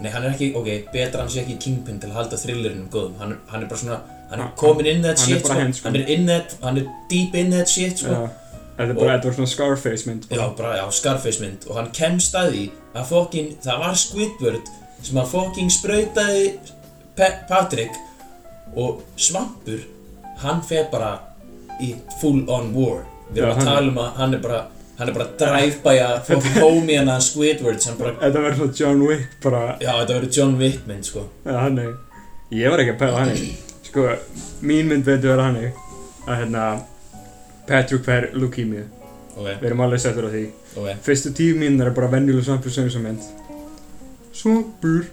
nei hann er ekki, ok, betra hann sé ekki Kingpin til að halda thrillerinum góðum hann, hann er bara svona, hann er Hann- komin in that hann er shit bara sko. hinn, sko. hann er in that, hann er deep in that shit sko. já. Þetta er bara, þetta var svona Scarface mynd já, bara, já, Scarface mynd og hann kemst að því að fokkin, það var Squidward sem að fokkin sprautaði Pe Patrick og svampur hann fer bara í full on war við Já, erum að hann- tala um að hann er bara hann er bara að drive-bæja *laughs* fokkin homie hann að Squidward sem bara Þetta verður svona John Wick bara, Já, þetta verður John Wick mynd, sko. eða hannig Ég var ekki að pæla hannig Sko, mín mynd veitur vera hannig að hérna Patrick fær leukemia Ok, Við erum alveg settur á því ok. Fyrstu tíu mínir er bara venjuleg svampur sem sem mynd Svampur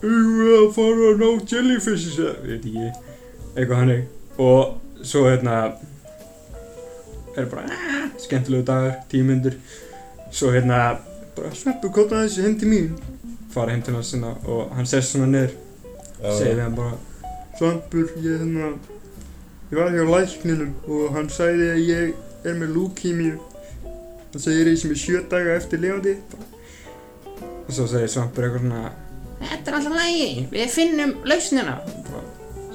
Eigum við að fara að ná jellyfishes eða Ég veit ekki Eitthvað hannig Og svo hérna Er bara "Ah, Skemmtilegu dagar, tíu myndir Svo hérna Bara svampur kóta þessu heim til mín Fara heim til hans hérna Og hann sest svona niður Já, segir já. við hann bara Svampur, ég hérna ég var hjá lækninum og hann sagði að ég er með lúkímíu hann segir ég sem er sjö daga eftir lifandi og svo segir Svampur eitthvað svona Þetta er alltaf lægi, við finnum lausnina.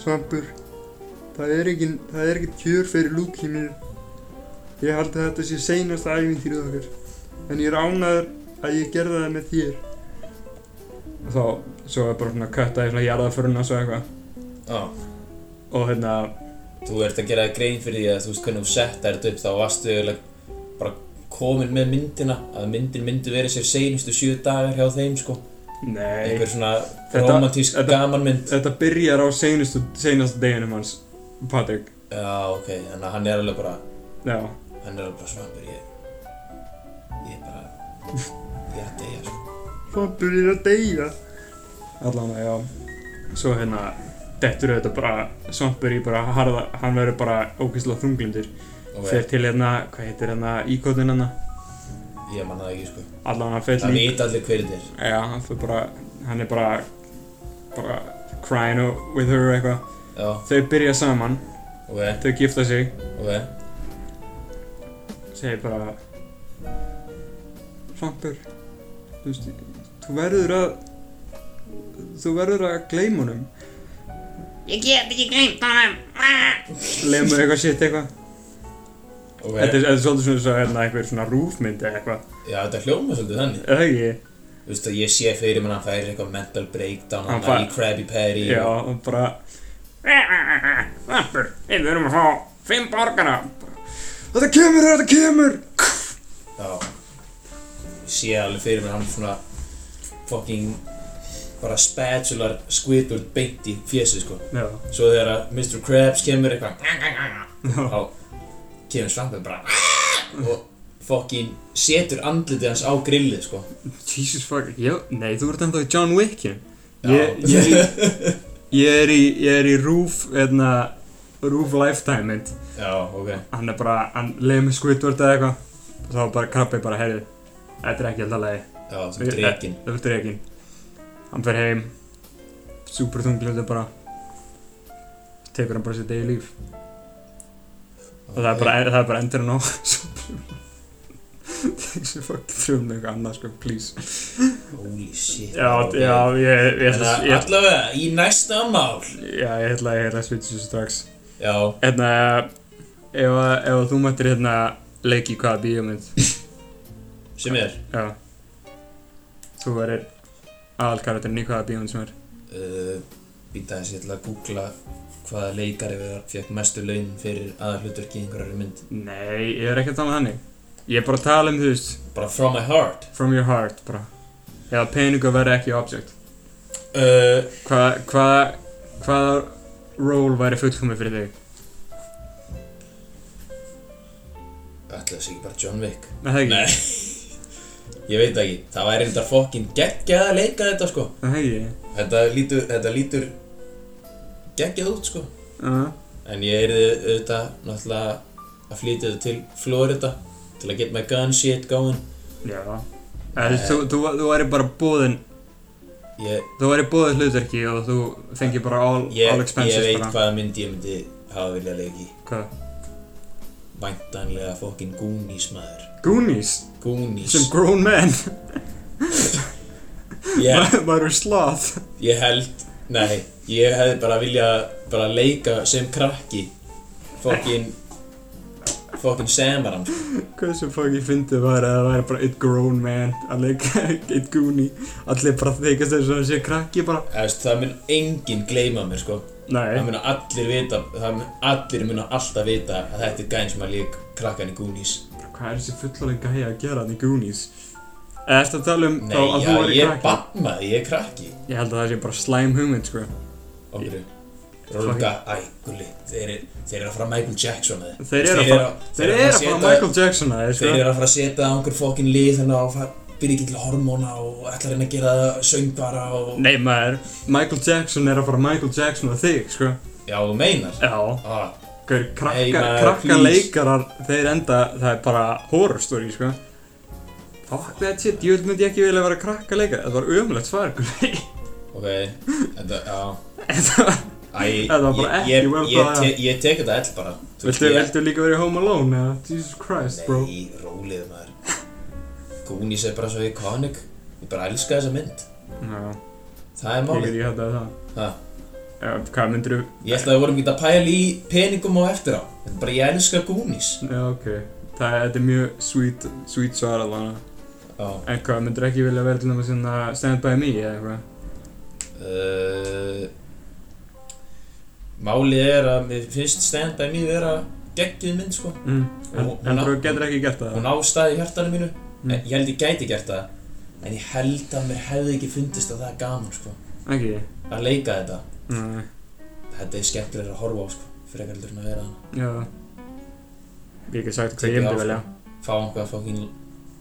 Svampur, það er ekki það er ekki kjör fyrir lúkímíu ég held að þetta sé seinast æfintýrið okkar en ég er ánæður að ég gerði það með þér og þá svo er bara svona köttaði svona jarðaföruna svo eitthvað Já. og hérna Þú ert að gera grein fyrir því að þú veist hvernig þú setta þetta upp, þá varstu eiginlega bara komin með myndina, að myndin myndi verið sér seinustu sjö dagar hjá þeim, sko. Nei, Einhver svona Þetta- romantísk þetta- gamanmynd. þetta byrjar á seinustu, seinustu deginum hans, Patrik. Já, ok, þannig að hann er alveg bara, Já, hann er alveg bara svampur, ég, ég er bara, ég er að deyja, sko. hann byrjar að deyja. Allan að, já. Svo hérna, dettur auðvitað bara, Svampur í bara harða, hann verður bara ógeðslega þunglindur. Fer Ok, til hérna, hvað heitir hérna, íkotinn hérna. ég manna það ekki, sko. Allan að fer til Það veit allir hverjir þér. Já, hann fyrir bara, hann er bara, bara crying with her eitthvað. Já, Þau byrja saman, ok, þau gifta sig. ok. segir bara Svampur þú veist, þú verður að þú verður að gleyma honum Ég get ekki gleymt honum. Ah! leymur eitthvað sitt eitthvað Ok, þetta er, þetta er svolítið svona svo hérna einhver svona rúfmynd eða eitthvað já þetta hljóma svolítið þannig. eða ekki, Þú veist að ég sé fyrir mér að hann færi eitthvað mental breakdown, Hann hann færi fær- Krabby Patty já, og- og bara Svampur, hey, við erum að fá fimm borgara þetta kemur, þetta kemur Já Ég sé alveg fyrir mér hann svona fucking bara spatular Squidward beint í fjesið sko já, Svo þegar að Mr. Krabs kemur eitthvað Þá kemur svampið bara "Ah!" og fucking setur andlitið hans á grillið sko Jesus fuck já, nei, þú ert ennþá í John Wick ég, Já. ég, ég er í, ég er í rúf hérna, rúf lifetime mynd *laughs* Já, ok hann er bara, hann leiði mig Squidward eða eitthvað og þá var bara krabbi bara, heyrðu þetta er ekki alltaf lagi Já, þú ert reygin þetta er dregin hann fer heim super þunglundu bara tekur hann bara sitt degi líf og það er bara, það er bara endur hann á *laughs* þessi fucking frjóðum eitthvað annað sko, please Holy shit já, ok. já, ég, ég En ætla að ég, allavega, í næsta mál já, ég ætla ég ætla að svitja þessu strax Já, hérna, ef, að- ef að þú mættir hérna leik í hvaða bíómynd sem er Já Þú verður aðalkarakterinn í hvaða bíón sem er uh, býta þess ég ætla að googla hvaða leikari við fekk mestu laun fyrir aðalhlutverki í einhverjari mynd Nei, ég er ekki að tala um þannig Ég er bara að tala um þú veist bara from my heart From your heart bara Eða peningu verður ekki object Eh, uh, Hvað, hvað, hvaða ról væri fullkomið fyrir þig? ætla þess ekki bara John Wick Nei, það nei *laughs* ekki ég veit það ekki það væri þetta fokkin geggjað að leika þetta sko Nei, það ekki þetta lítur, þetta lítur geggjað út sko uh, en ég er auðvitað náttúrulega að flytja þau til Florida til að get my gun shit going Já. En þú, þú, þú væri bara bóðin, ég, þú væri bóðin hlutverki og þú fengi bara all, all ég, expenses ég veit bara. hvaða mynd ég myndi hafa viljað leiki Hvað? væntanlega fokkin Goonies maður Goonies? Goonies Sem grown man? ég, *laughs* Maður er sloth. ég held, nei ég hefði bara viljað bara leika sem krakki fokkin fokkin samaran sko. Hversu fokk ég fyndið var að það væri bara eitt grown man að leika *laughs* eitt goonie Allir bara þykast þess að það sé krakki bara Eða, veist, það mun enginn gleyma mér sko Nei, Það muna allir vita, það muna allir muna alltaf vita að þetta er gæn sem að líka krakkan í Goonies. bara, hvað er þessi fullorinn gæi að gera hann í Goonies? Eða ertu að tala um Nei, þá að já, þú væri ég er krakki? bammaði, ég er krakki. Ég held að það sé bara slæm hugmynd sko Okkur, Rólga, æ, gulli, þeir, eru- þeir eru að fara Michael Jackson að þið. Þeir eru að fara, þeir eru að fara Michael Jackson að þið Þeir sko eru að fara að setja á einhver fokkin lið þannig að það byrja ekki til hormóna og ætla að reyna að gera það söngvara og... Nei maður, Michael Jackson er að fara Michael Jackson að þig sko Já, þú meinar? Já, Ah, hver Nei, krakka, maður, krakka please. leikarar, þeir enda, það er bara horror story sko Fuck that shit, ég myndi ég ekki vilja vera krakka leikar, þetta var ömulegt svar, gulli *laughs* ok, þetta, já... Þetta var... Æ, Þetta var bara ég- ekki ég- vel ég bragað. te- Ég tek þetta ell bara. Þú veist, Viltu, ég- viltu líka verið Home Alone eða? Jesus Christ, bro. Nei, rólið maður Goonies er bara svo iconic Ég bara elska þessa mynd Já, Það er ég get málið ekki hægt að það. ha, Já, hvað myndir þú? Ég ætla að við vorum ekki að pæla í peningum og eftir á Þetta er bara ég elska Goonies Já, ok. Það þetta er mjög sweet, sweet svar alveg. Já En hvað, myndir ekki vilja vera til náma svona Stand By Me eða eitthvað? uh, Málið er að mér finnst Stand By Me vera geggjuð mynd sko Mm. En, Hún- en hún- þú getur ekki gert það? Hún ástæði hjartanum mínu Mm. en, Ég held ég gæti gert það En ég held að mér hefði ekki fundist að það er gaman sko Ekki? Að leika þetta Nei. Þetta er skemmtilega að horfa á sko Frekar heldur en að vera það Já. Ég get sagt hvað Tekið ég myndi áfram. velja. fá einhvað fokkin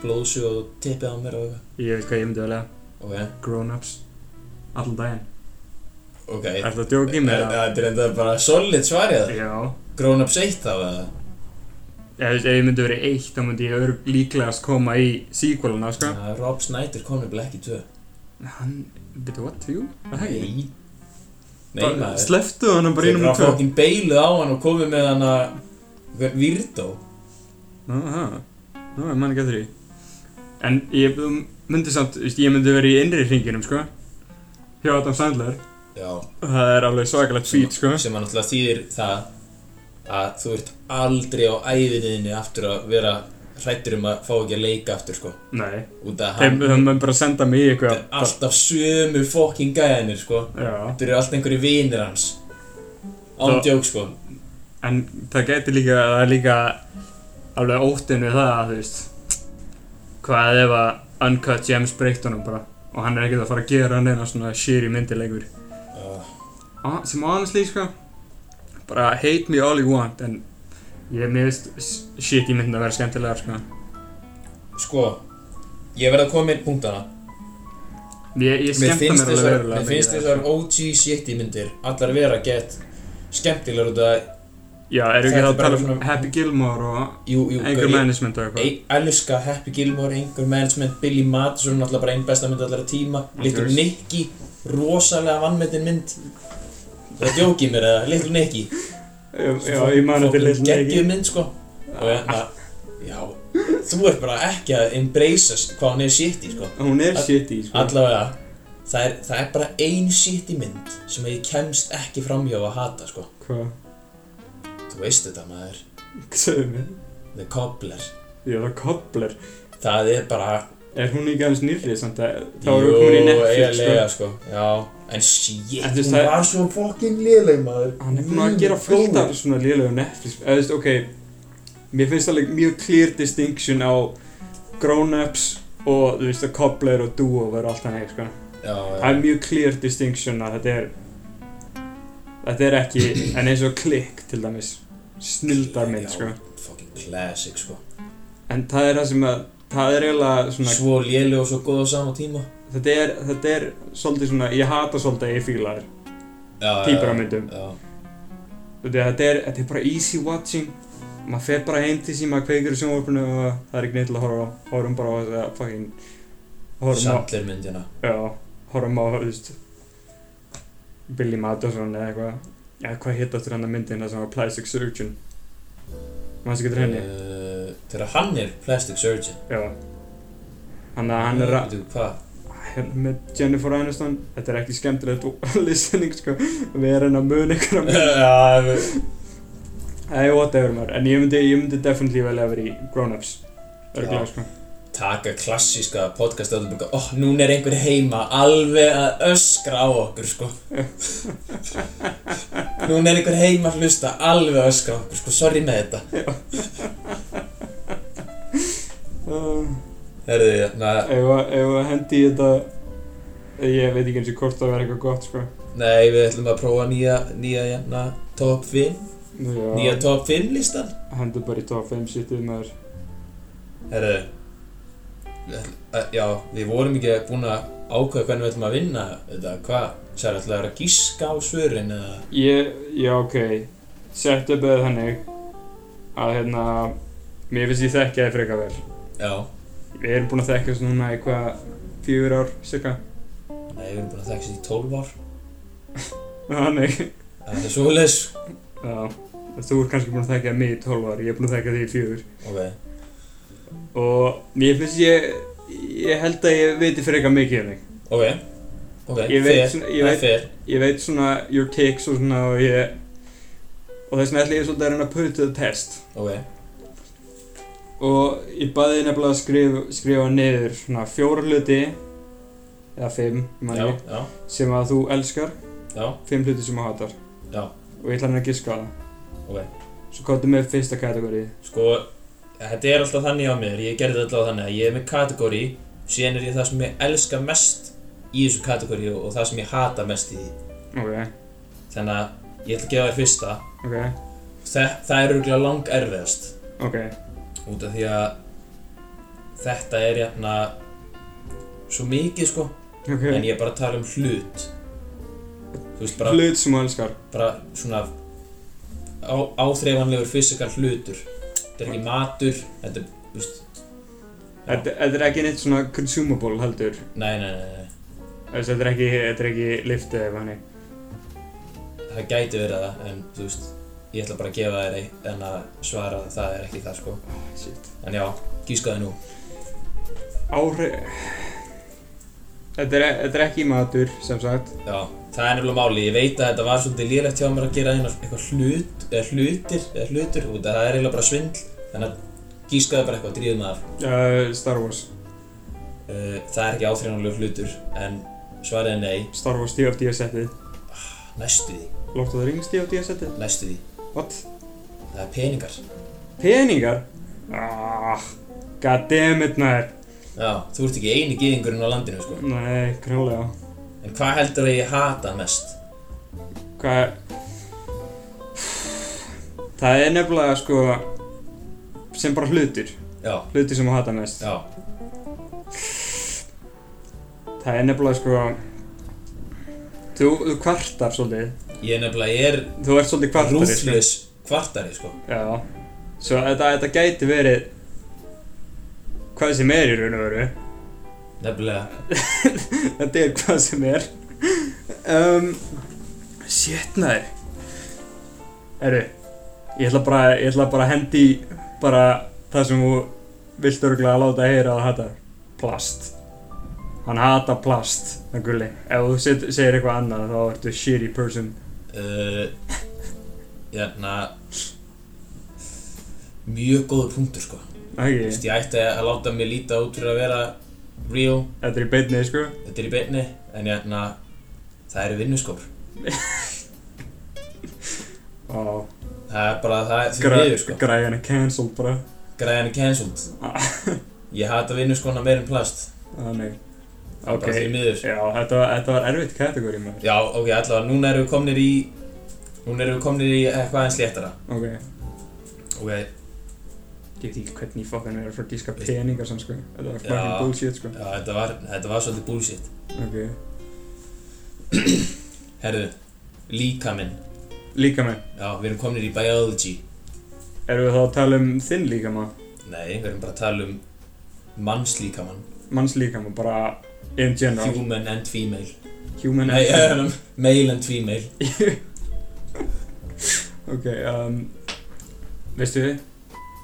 blóðsug og tippið á mér og eitthvað Ég veit hvað ég myndi velja. ok, Grown-ups. Allan daginn. ok Er það djók í mér? Er- þetta er enda bara solid svarið Já. grown ups 1 þá eða Ef, ef ég myndi verið eitt, þá myndi ég örg líklegast koma í sequelina, sko. Ja, Rob Snyder kom nefnilega ekki í tvö Hann, betur what, þrjú? Er Það ekki? nei nei maður Sleftu hann bara þeir inn um bara tvö. fokkin beiluð á hann og komið með hann að einhvern Virdó Aha, nú er mann ekki að því. En ég þú myndi samt, veist, ég myndi verið í innri hringinum, sko. Hjá Adam Sandler. já Og það er alveg svakalegt fýt, sko. sem hann alltaf þýðir það að þú ert aldrei á æðinniðinni aftur að vera hrættur um að fá ekki að leika aftur sko Nei, út að þeim hann þeim mun bara senda mig í þetta eitthvað. er alltaf sömu fokkin gæðinir sko Já, Þetta eru alltaf einhverju vinir hans Þó- Ándjók sko en það gæti líka, það er líka alveg óttinn við það, þú veist. Hvað ef að Uncut Gems breykt honum bara. Og hann er ekkert að fara að gera hann eina svona shiri myndilegur. uh, Ah, sem honestly sko bara hate me all you want en ég meðist shit í myndin að vera skemmtilegar sko Sko Ég verð að koma með punktana ég, ég skemmta mér alveg þessar, verulega mér finnst mikið, þessar sko. OG shitty myndir Allar vera gett Skemmtilegar út að já, eru Þetta ekki er að bara tala um svona- Happy Gilmore og Jú, jú Anger ég- Management og eitthvað Ég elska Happy Gilmore, Anger Management, Billy Madison Alltaf bara einn besta mynd allara tíma Little veist. Nicky Rosalega vannmetin mynd Það djóki mér eða Little Nicky Já, já, ég man þetta lill Gekkið ekki mynd sko Og hérna Já Þú ert bara ekki að embracea hvað hún er shitty sko hún er All- shit í sko Allavega, það er, það er bara ein shitty mynd sem ég kemst ekki framhjá að hata, sko. hvað, Þú veist þetta, maður. segðu mér The Cobbler. ég er að kobler Það er bara... er hún ekki aðeins nýrri samt að þá erum við komin í Netflix sko eiginlega, sko. Já, en shit, En þú veist, hún það- var svo fucking liðleg, maður. sko. hann er búinn að gera fullt af svona liðlega Netflix eða þú veist, ok mér finnst alveg mjög clear distinction á grown-ups og þú veist að cobbler og do-over og allt þannig sko Já, það já. er mjög clear distinction að þetta er þetta er ekki *coughs* en eins og klikk til dæmis snildarmynd sko Já, fucking classic, sko. en það er það sem að það er eiginlega svona Svo liðleg og svo góð á sama tíma. þetta er þetta er svolítið svona ég hata svolítið að ég fíla þér Já, já, Týpur af myndum. Já, Þú veit, þetta er þetta er bara easy watching maður fer bara heim til sín, maður kveikir í sjónvarpinu og það er ekki neitt til að horfa á, horfum bara á þess að fucking, horfum á, Sandler myndina já, horfum á, þú veist, Billy Madison eða eitthvað, eða hvað hitt áttur hann að myndin það sem var Plastic Surgeon, maður sem getur henni, uh, Þegar hann er plastic surgeon já, hann að hann er að, Þú veitum hvað? *laughs* hérna með Jennifer Aniston, þetta er ekki skemmtilegt *laughs* listening, sko, við erum að muna ykkur að Já, við- Nei, whatever maður, en ég myndi, ég myndi definitely velja að vera í Grown-Ups Örglega, Já. sko taka klassíska podcast og bara, oh, núna er einhver heima alveg að öskra á okkur sko núna er einhver heima að hlusta alveg að öskra á okkur sko, sorry með þetta uh, herðu hérna, ég, na, Eh, Ef að- ef að hendi í þetta Ég veit ekki eins og hvort það verður eitthvað gott, sko nei, við ætlum að prófa nýja, nýja, na, top 5 Já, nýja top 5 listan hendi bara í top 5 sitið maður herðu við ætlum- að- já, við vorum ekki búin að ákveða hvernig við ætlum að vinna þetta, hvað, sér ætlum að gíska á svörin eða, Ég, já, ok Settu upp eða þannig Að, hérna Mér finnst ég þekkja þið frekar vel já Við erum búin að þekkja þessu núna í hvað Fjör ár, cirka nei, við erum búin að þekka sér í 12 ár Þannig það er svoleiðis Já Þú ert kannski búin að þekkja mig í 12 ár Ég er búin að þekkja þig í fjör ok, og mér finnst ég ég held að ég veit frekar mikið um þig Ok, ok, Ég veit fair, svona- ég það er veit- fair ég veit svona your takes og svona og ég og þess vegna ætla ég svolítið að reyna að put it to the test Ok, og ég baði þig nefnilega að skrifa, skrifa niður svona fjóra hluti eða fimm, ég man já, ekki, já, sem að þú elskar já, fimm hluti sem þú hatar Já. og ég ætla hann að giska á það Ok. svo kóttu með fyrsta kategóri sko Þetta er alltaf þannig á mér, ég gerði þetta alltaf þannig að ég er með kategóri Síðan er ég það sem ég elska mest í þessu kategóri og, og það sem ég hata mest í því ok, Þannig að ég ætla að gefa þér fyrsta ok, Þe, Það er örgulega lang erfiðast ok Út af því að þetta er jæna svo mikið sko ok, En ég er bara að tala um hlut Þú veist bara, hlut sem þú elskar bara svona á, áþreifanlegur fysikal hlutur þetta er ekki matur þetta er, þú veist Já. þetta þetta er ekki neitt svona consumable heldur nei, nei, nei, nei, Þessi, þetta er ekki, þetta er ekki liftið eða hannig. það gæti verið það en þú veist, ég ætla bara að gefa þér ein- en að svara að það er ekki það sko Shit. en já, gískaði nú Áhrif... Þetta er, þetta er ekki matur, sem sagt. já, það er nefnilega máli, ég veit að þetta var svolítið lélegt hjá mér að gera einu eitthvað hlut eða hlutir, eða hlutur, út að það er eiginlega bara svindl þannig að gískaði bara eitthvað, dríðum að Uh, Star Wars. uh, það er ekki áþreifanlegur hlutur en svaraði nei, Star Wars TFD setið. næstu því Lord of the Rings TFD setið. næstu því, What? það er peningar Peningar? Ah, goddammit maður. Já, þú ert ekki eini gyðingurinn á landinu, sko. Nei, grjólega. En hvað heldur að ég hata mest? Hvað Það er nefnilega sko sem bara hlutir, Já, hlutir sem að hata mest. já, Það er nefnilega sko, þú, þú kvartar svolítið, ég nefnilega er þú ert svolítið kvartari. sko. rúflöðs kvartari, sko. Já, svo þetta, þetta gæti verið hvað sem er í raun og veru. Nefnilega, Þetta er hvað sem er. Um, shit, næri. Herru, ég ætla bara, ég ætla bara að hendi í bara það sem þú vilt örgulega að láta heyra að hata. Plast. Hann hata plast, það gulli. Ef þú set- segir eitthvað annað þá ertu shitty person. uh, hérna, mjög góður punktur, sko. Þú Ekki, veist, ég ætti að láta mig líta út fyrir að vera real, þetta er í beinni, sko. þetta er í beinni, en hérna, það eru vinnuskór. Ó, Það er bara, það er því græ, miður, sko. græjan er cancelled bara. Ah, Græðan er cancelled. *laughs* Ég hata vinnuskóna meir en plast. Þannig Það er bara því miður. Já, þetta var, þetta var erfitt kategóri maður Já, ok, allavega, núna erum við komnir í Núna erum við komnir í eitthvað eins léttara Ok, Ok, já, ég veit ekki hvernig ég fokkan er að fara að díska peningar sem sko Þetta var fucking Já. bullshit sko þetta var, þetta var svolítið bullshit Ok Herðu, líkaminn Líka með Já, við erum komnir í biology Erum við þá að tala um þinn líkama? Nei, við erum bara að tala um mannslíkamann. Manns líkama, bara in general Human and female. Human Nei, *laughs* eh, male and female. Ok, um, veistu við?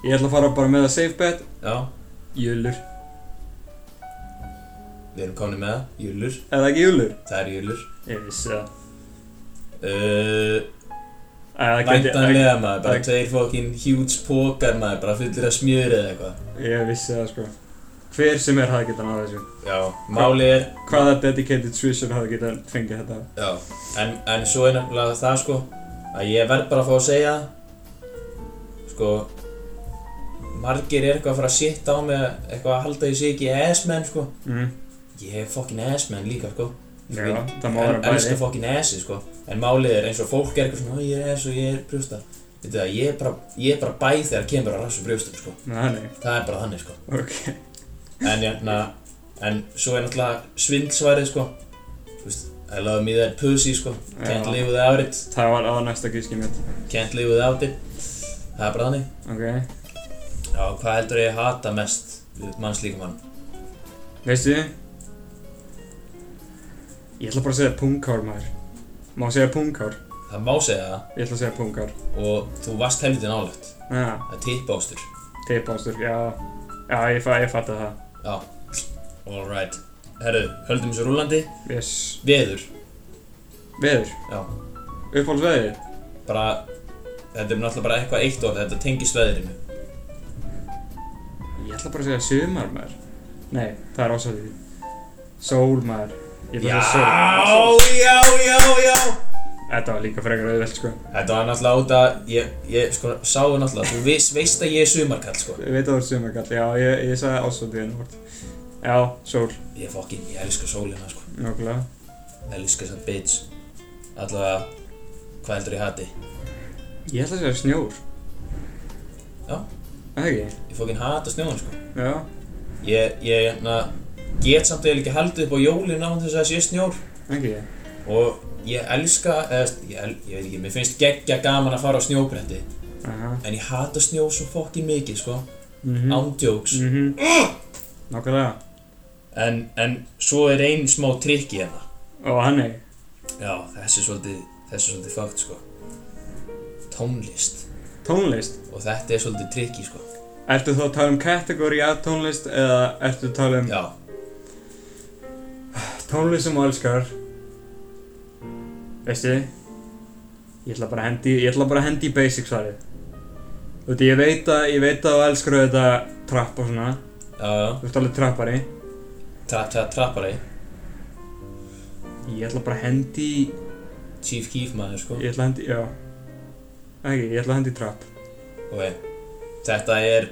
Ég ætla að fara bara með að safe bet Já, Júlur við erum komin með það. Júlur. Er það ekki júlur? Það er júlur. Ég vissi það Uh, Æ, það gæti- Væntanlega maður, bara það- tveir fokkin huge pókar maður, bara fullir af smjöri eða eitthvað. Ég vissi það sko Hver sem er hafði getað náða þessu Já, málið er Hvaða dedicated swisher hafði getað fengið þetta Já, en, en svo er nefnilega það sko að ég verð bara að fá að segja það sko margir er eitthvað að fara að sitta á mig eitthvað að halda í sig ekki ass-menn sko mm. ég hef fokkin ass-menn líka sko Já, Ég- það má en- vera bæði. elska fokkin assi sko en málið er eins og fólk er eitthvað svona "Ó, ég er ass og ég er brjóstar veitu það, ég er bara, ég er bara bæð þegar kemur að rassu brjóstum sko Nei, það er bara þannig sko ok en jæna en svo er náttúrulega svindlsvarið sko þú veist, I love me that pussy sko can't Já. live without it Það var aða næsta gíski mitt Can't live without it Það er bara þannig Ok Já, hvað heldur ég að hata mest við mannslíkamann? Veistu Ég ætla bara að segja punghár maður Má segja punghár Það má segja það Ég ætla að segja punghár og þú varst helviti nálægt Já, Það er tippástur teipástur, já Já, ég, fa ég fatta það Já, alright Herru, höldum þessu rúlandi Yes Veður Veður Já, Uppáhaldsveður bara Þetta er náttúrulega bara eitthvað eitt orð Þetta tengist veðrinu Ég ætla bara að segja sumar maður Nei, það er ásæðið Sól maður Ég ætla að segja sól já, já, já Þetta var líka frekar auðvelt sko Þetta var náttúrulega út að Ég, ég sko, sá það náttúrulega Þú veist, veist að ég er sumarkall, sko Ég veit að það er sumarkall, já, ég, ég sagði ásæðið en hvort Já, sól, Ég fokkin, ég elska sólina, sko nokkulega Elskar þessa bitch Allavega, hvað heldur ég hati? Ég ætla að segja snjór Já. Það ekki? Ég fókin hata snjóðan sko Já Ég, ég, hérna Get samt eða ekki haldið upp á jólin án þess að það sé snjór Ekki? Og ég elska, eða st- ég, el, ég veit ekki, mér finnst geggja gaman að fara á snjóbretti Aha En ég hata snjó svo fokkin mikið sko Mhm. Ándjóks mm. Mhm. Nákvæmlega. en, en svo er ein smá trikk í hérna Og hann er, Já, þessi er svolítið, þessi er svolítið fakt sko Tónlist tónlist. Og þetta er svolítið trikki sko Ertu þá að tala um kategóri að tónlist eða ertu að tala um Já, tónlist sem þú elskar? Veistu, ég ætla bara að hendi, ég ætla bara að hendi í basic svarið. Þú veit, ég veit að, ég veit að þú elskar þetta trapp og svona. já, já Þú ert alveg trappari. Tra, tra, trappari Ég ætla bara að hendi, í- Chief Keef maður sko ég ætla að hendi, já. Ekki, ég ætla að hendi í trapp. Ok, þetta er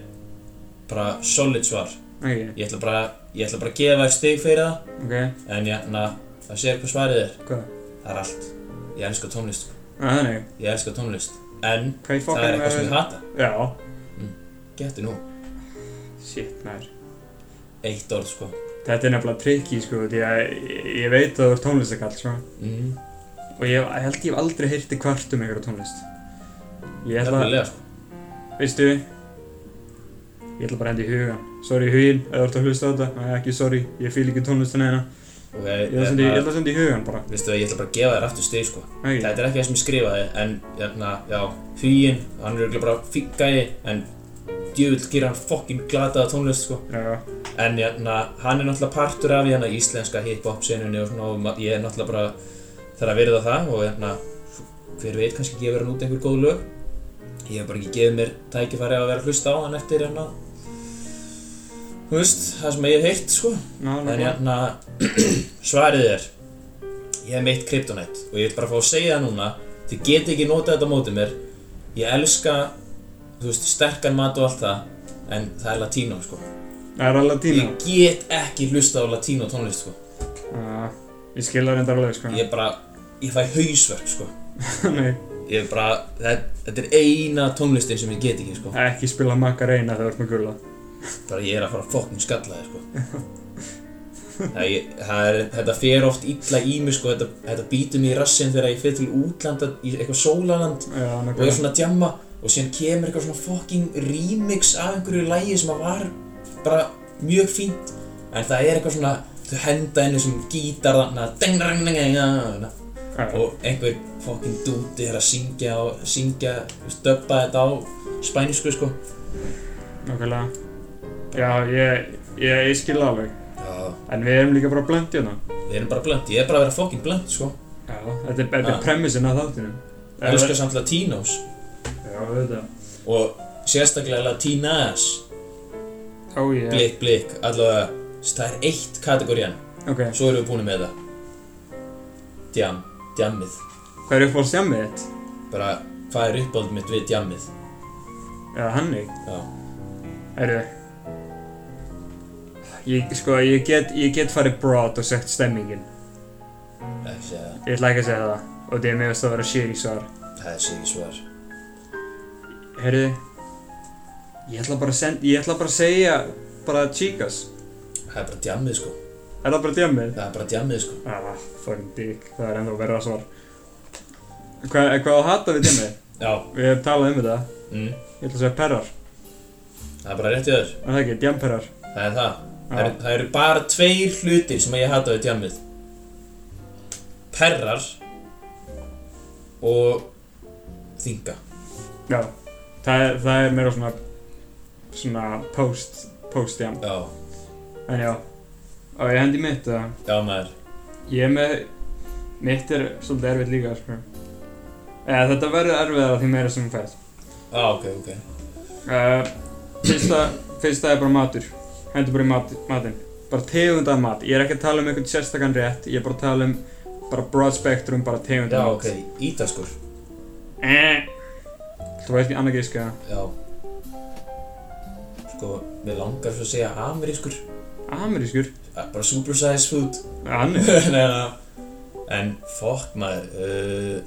bara solid svar. Ekki, Ég ætla bara, ég ætla bara að gefa þér stig fyrir það, ok, en jæna, það sér hvað svarið er. hvað? Það er allt. Ég elska tónlist, sko. Að þannig, Ég elska tónlist. En hvað ég eh, það fokkan er eitthvað sem ég hata. Já, Getur nú. shit, maður. Eitt orð, sko. Þetta er nefnilega tricky sko, því að ég, ég veit að þú ert tónlistakall sko Mm, og ég, ég held ég hef aldrei heyrti kvart um einhverja tónlist. Ég ætla, Nefnilega, sko. veistu, ég ætla bara að henda í hugan. Sorry hugin, ef þú ert að hlusta á þetta, Nei, ekki sorry, ég fíl ekki tónlistina hérna. Ok, Ég ætla að senda í- ég ætla að senda í hugan bara, Vistu það, ég ætla bara að gefa þér aftur stig, sko. ekki? Þetta er ekki það sem ég skrifaði, en jæna, já, huginn, hann er örugglega bara fíkkaði, en djöfull gerir hann fokkin glataða tónlist, sko. Já, En hérna, hann er náttúrulega partur af hérna íslenska hip-hop senunni og svona og ma- ég er náttúrulega bara þarf að virða það og hérna, hver veit, kannski gefur hann út einhver góð lög. Ég hef bara ekki gefið mér tækifæri að vera að hlusta á hann eftir hérna, þú veist, það sem ég hef heyrt, sko. ná, ná, En ná. hérna, *clears throat* svarið er, ég hef meitt kryptonett og ég vil bara fá að segja það núna, þið geti ekki notað þetta á mótið mér, ég elska, þú veist, sterkan mat og allt það, en það er latínó, sko. Það er alveg tíma. Ég get ekki hlusta á latínó tónlist sko. Ah, Ég skil það reyndar alveg sko. Ég er bara, ég fæ hausverk sko. *laughs* Nei, Ég er bara, það, þetta er eina tónlistin sem ég get ekki sko. ekki spila Macarena þegar þú ert með gulla. Bara ég er að fara að fokkin skalla þér sko. Það, ég, það er, þetta fer oft illa í mig sko, þetta, þetta býtur mig í rassinn þegar ég fer til útlanda í eitthvað sólaland Já, og ég er nákvæmlega. svona að djamma og síðan kemur eitthvað svona fucking remix af einhverju lægi sem að var bara mjög fínt en það er eitthvað svona þau henda einu sem gítar þarna deng, deng, deng, deng, deng, deng, og einhver fucking dúti er að syngja og syngja, stöppa þetta á spænisku sko Nákvæmlega. Já, ég, ég, ég skil það alveg. Já, En við erum líka bara blönd í hana. við erum bara blönd, ég er bara að vera fucking blönd sko Já, þetta er, þetta Ah. er premissin að þáttunum. Elskar samt Latinos Já, auðvitað. og sérstaklega Latinas Ó, ég. blik, blik, allavega það er eitt kategórian, Ok, svo erum við búin með það djam, djammið hvað er upp á stjammið þitt? bara hvað er uppáld mitt við djammið Eða hannig? já, Herru. Ég, sko, ég get, ég get farið broad og sett stemmingin. ekki segja það, Ég ætla ekki að segja það. Og því að mér veist að vera shitty svar. það er sér ekki svar Herru. Ég ætla bara að senda, ég ætla bara að segja, bara chicas. það er bara djammið sko, Er það bara djammið? það er bara djammið sko Ah, fucking dick. Það er ennþá verra svar. Hvað, hvað á hata við djammið? já, Við hefum talað um þetta. mm, Ég ætla að segja perrar. það er bara rétt í þér Er það ekki? Djamperrar. það er það það Já. eru, það eru bara tveir hlutir sem ég hata við djammið perrar og þinga Já. Það er, það er meira svona, svona post, post jam. já, En já, á ég hendi mitt að já maður ég er með, mitt er svolítið erfitt líka, sko. Eða þetta verður erfiðara því meira sem þú fært. já, Ah, ok, ok Uh, fyrsta, fyrsta er bara matur. Hendur bara í mat, matinn. Bara tegund af mat. Ég er ekki að tala um einhvern sérstakann rétt, ég er bara að tala um bara broad spectrum, bara tegund já, af ok, mat. ítaskur Eh. Þú veist ekki annað gíska. já sko, mér langar svo að segja amerískur Amerískur? Eh, bara supersize food *laughs* Annir. Nei, nei, nei. en fokk maður uh,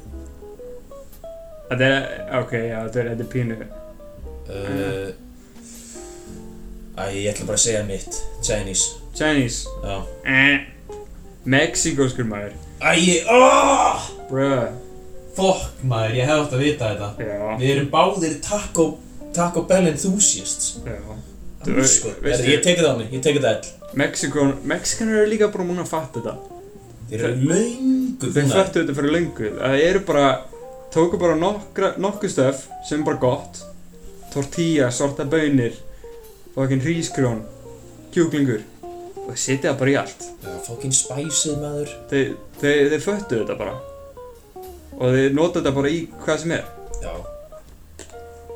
Þetta er, ok, já, þetta er, þetta er pínu. uh, Mm. æ, ég ætla bara að segja mitt Chinese, Chinese. já Eh. Mexikóskur maður. Æ, oh, Bruh. fokk maður, ég hef átt að vita þetta Já. Við erum báðir Taco, Taco Bell enthusiasts Já. Þú- Sko, veistu- ég tekið það á mig, ég tekið það all Mexikon, Mexikanar eru líka bara múin að fatta þetta. Þeir eru löngu Þeir búnar. föttu þetta fyrir löngu. Það eru bara, tóku bara nokkra, nokkuð stöf sem er bara gott. Tortilla, sorta bönir, fucking hrísgrjón, kjúklingur. Og setja það bara í allt. Já, fokkin spæsið maður Þeir, þeir, þeir föttu þetta bara. Og þeir nota þetta bara í hvað sem er. Já,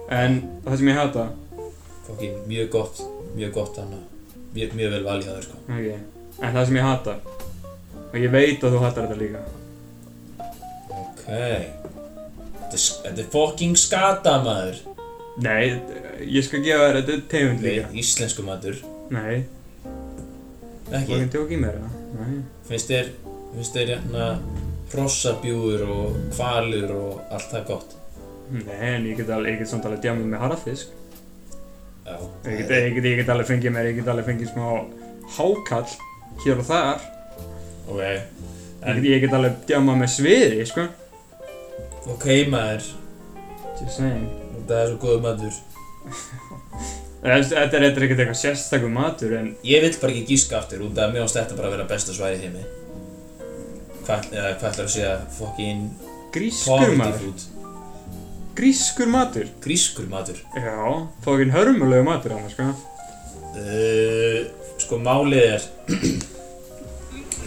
En það sem ég hata, fokkin mjög gott, mjög gott hana Mjög, mjög vel valið það, sko ok, en það sem ég hata, og ég veit að þú hatar þetta líka. Ok Þetta er s- þetta er fokkin skata maður Nei, ég skal gefa þér þetta er tegund líka. Við íslensku matur Nei, Ekki, Fucking tók í mér það? Nei. finnst þér, finnst þér hérna Hrossabjúur og hvalur og allt það gott Nei, en ég get alveg, ég get samt alveg djámið með harðafisk. Já Ég get, ég get, ég get alveg fengið mér, ég get alveg fengið smá hákall hér og þar. Ok, Ég en get, ég get alveg djámað með sviði, sko. ok maður, Just saying. þetta er svo góð matur Þetta er, Eh, þetta er ekkert eitthvað sérstakur matur, en Ég vill bara ekki gíska aftur út af að mér ást þetta bara að vera besta sværi heimi Hvað eða hvað ætlar að segja fokkin grískur poverty matur. food Grískur matur? Grískur matur Já, fókin hörmulegu matur hann, sko. uh, Sko málið er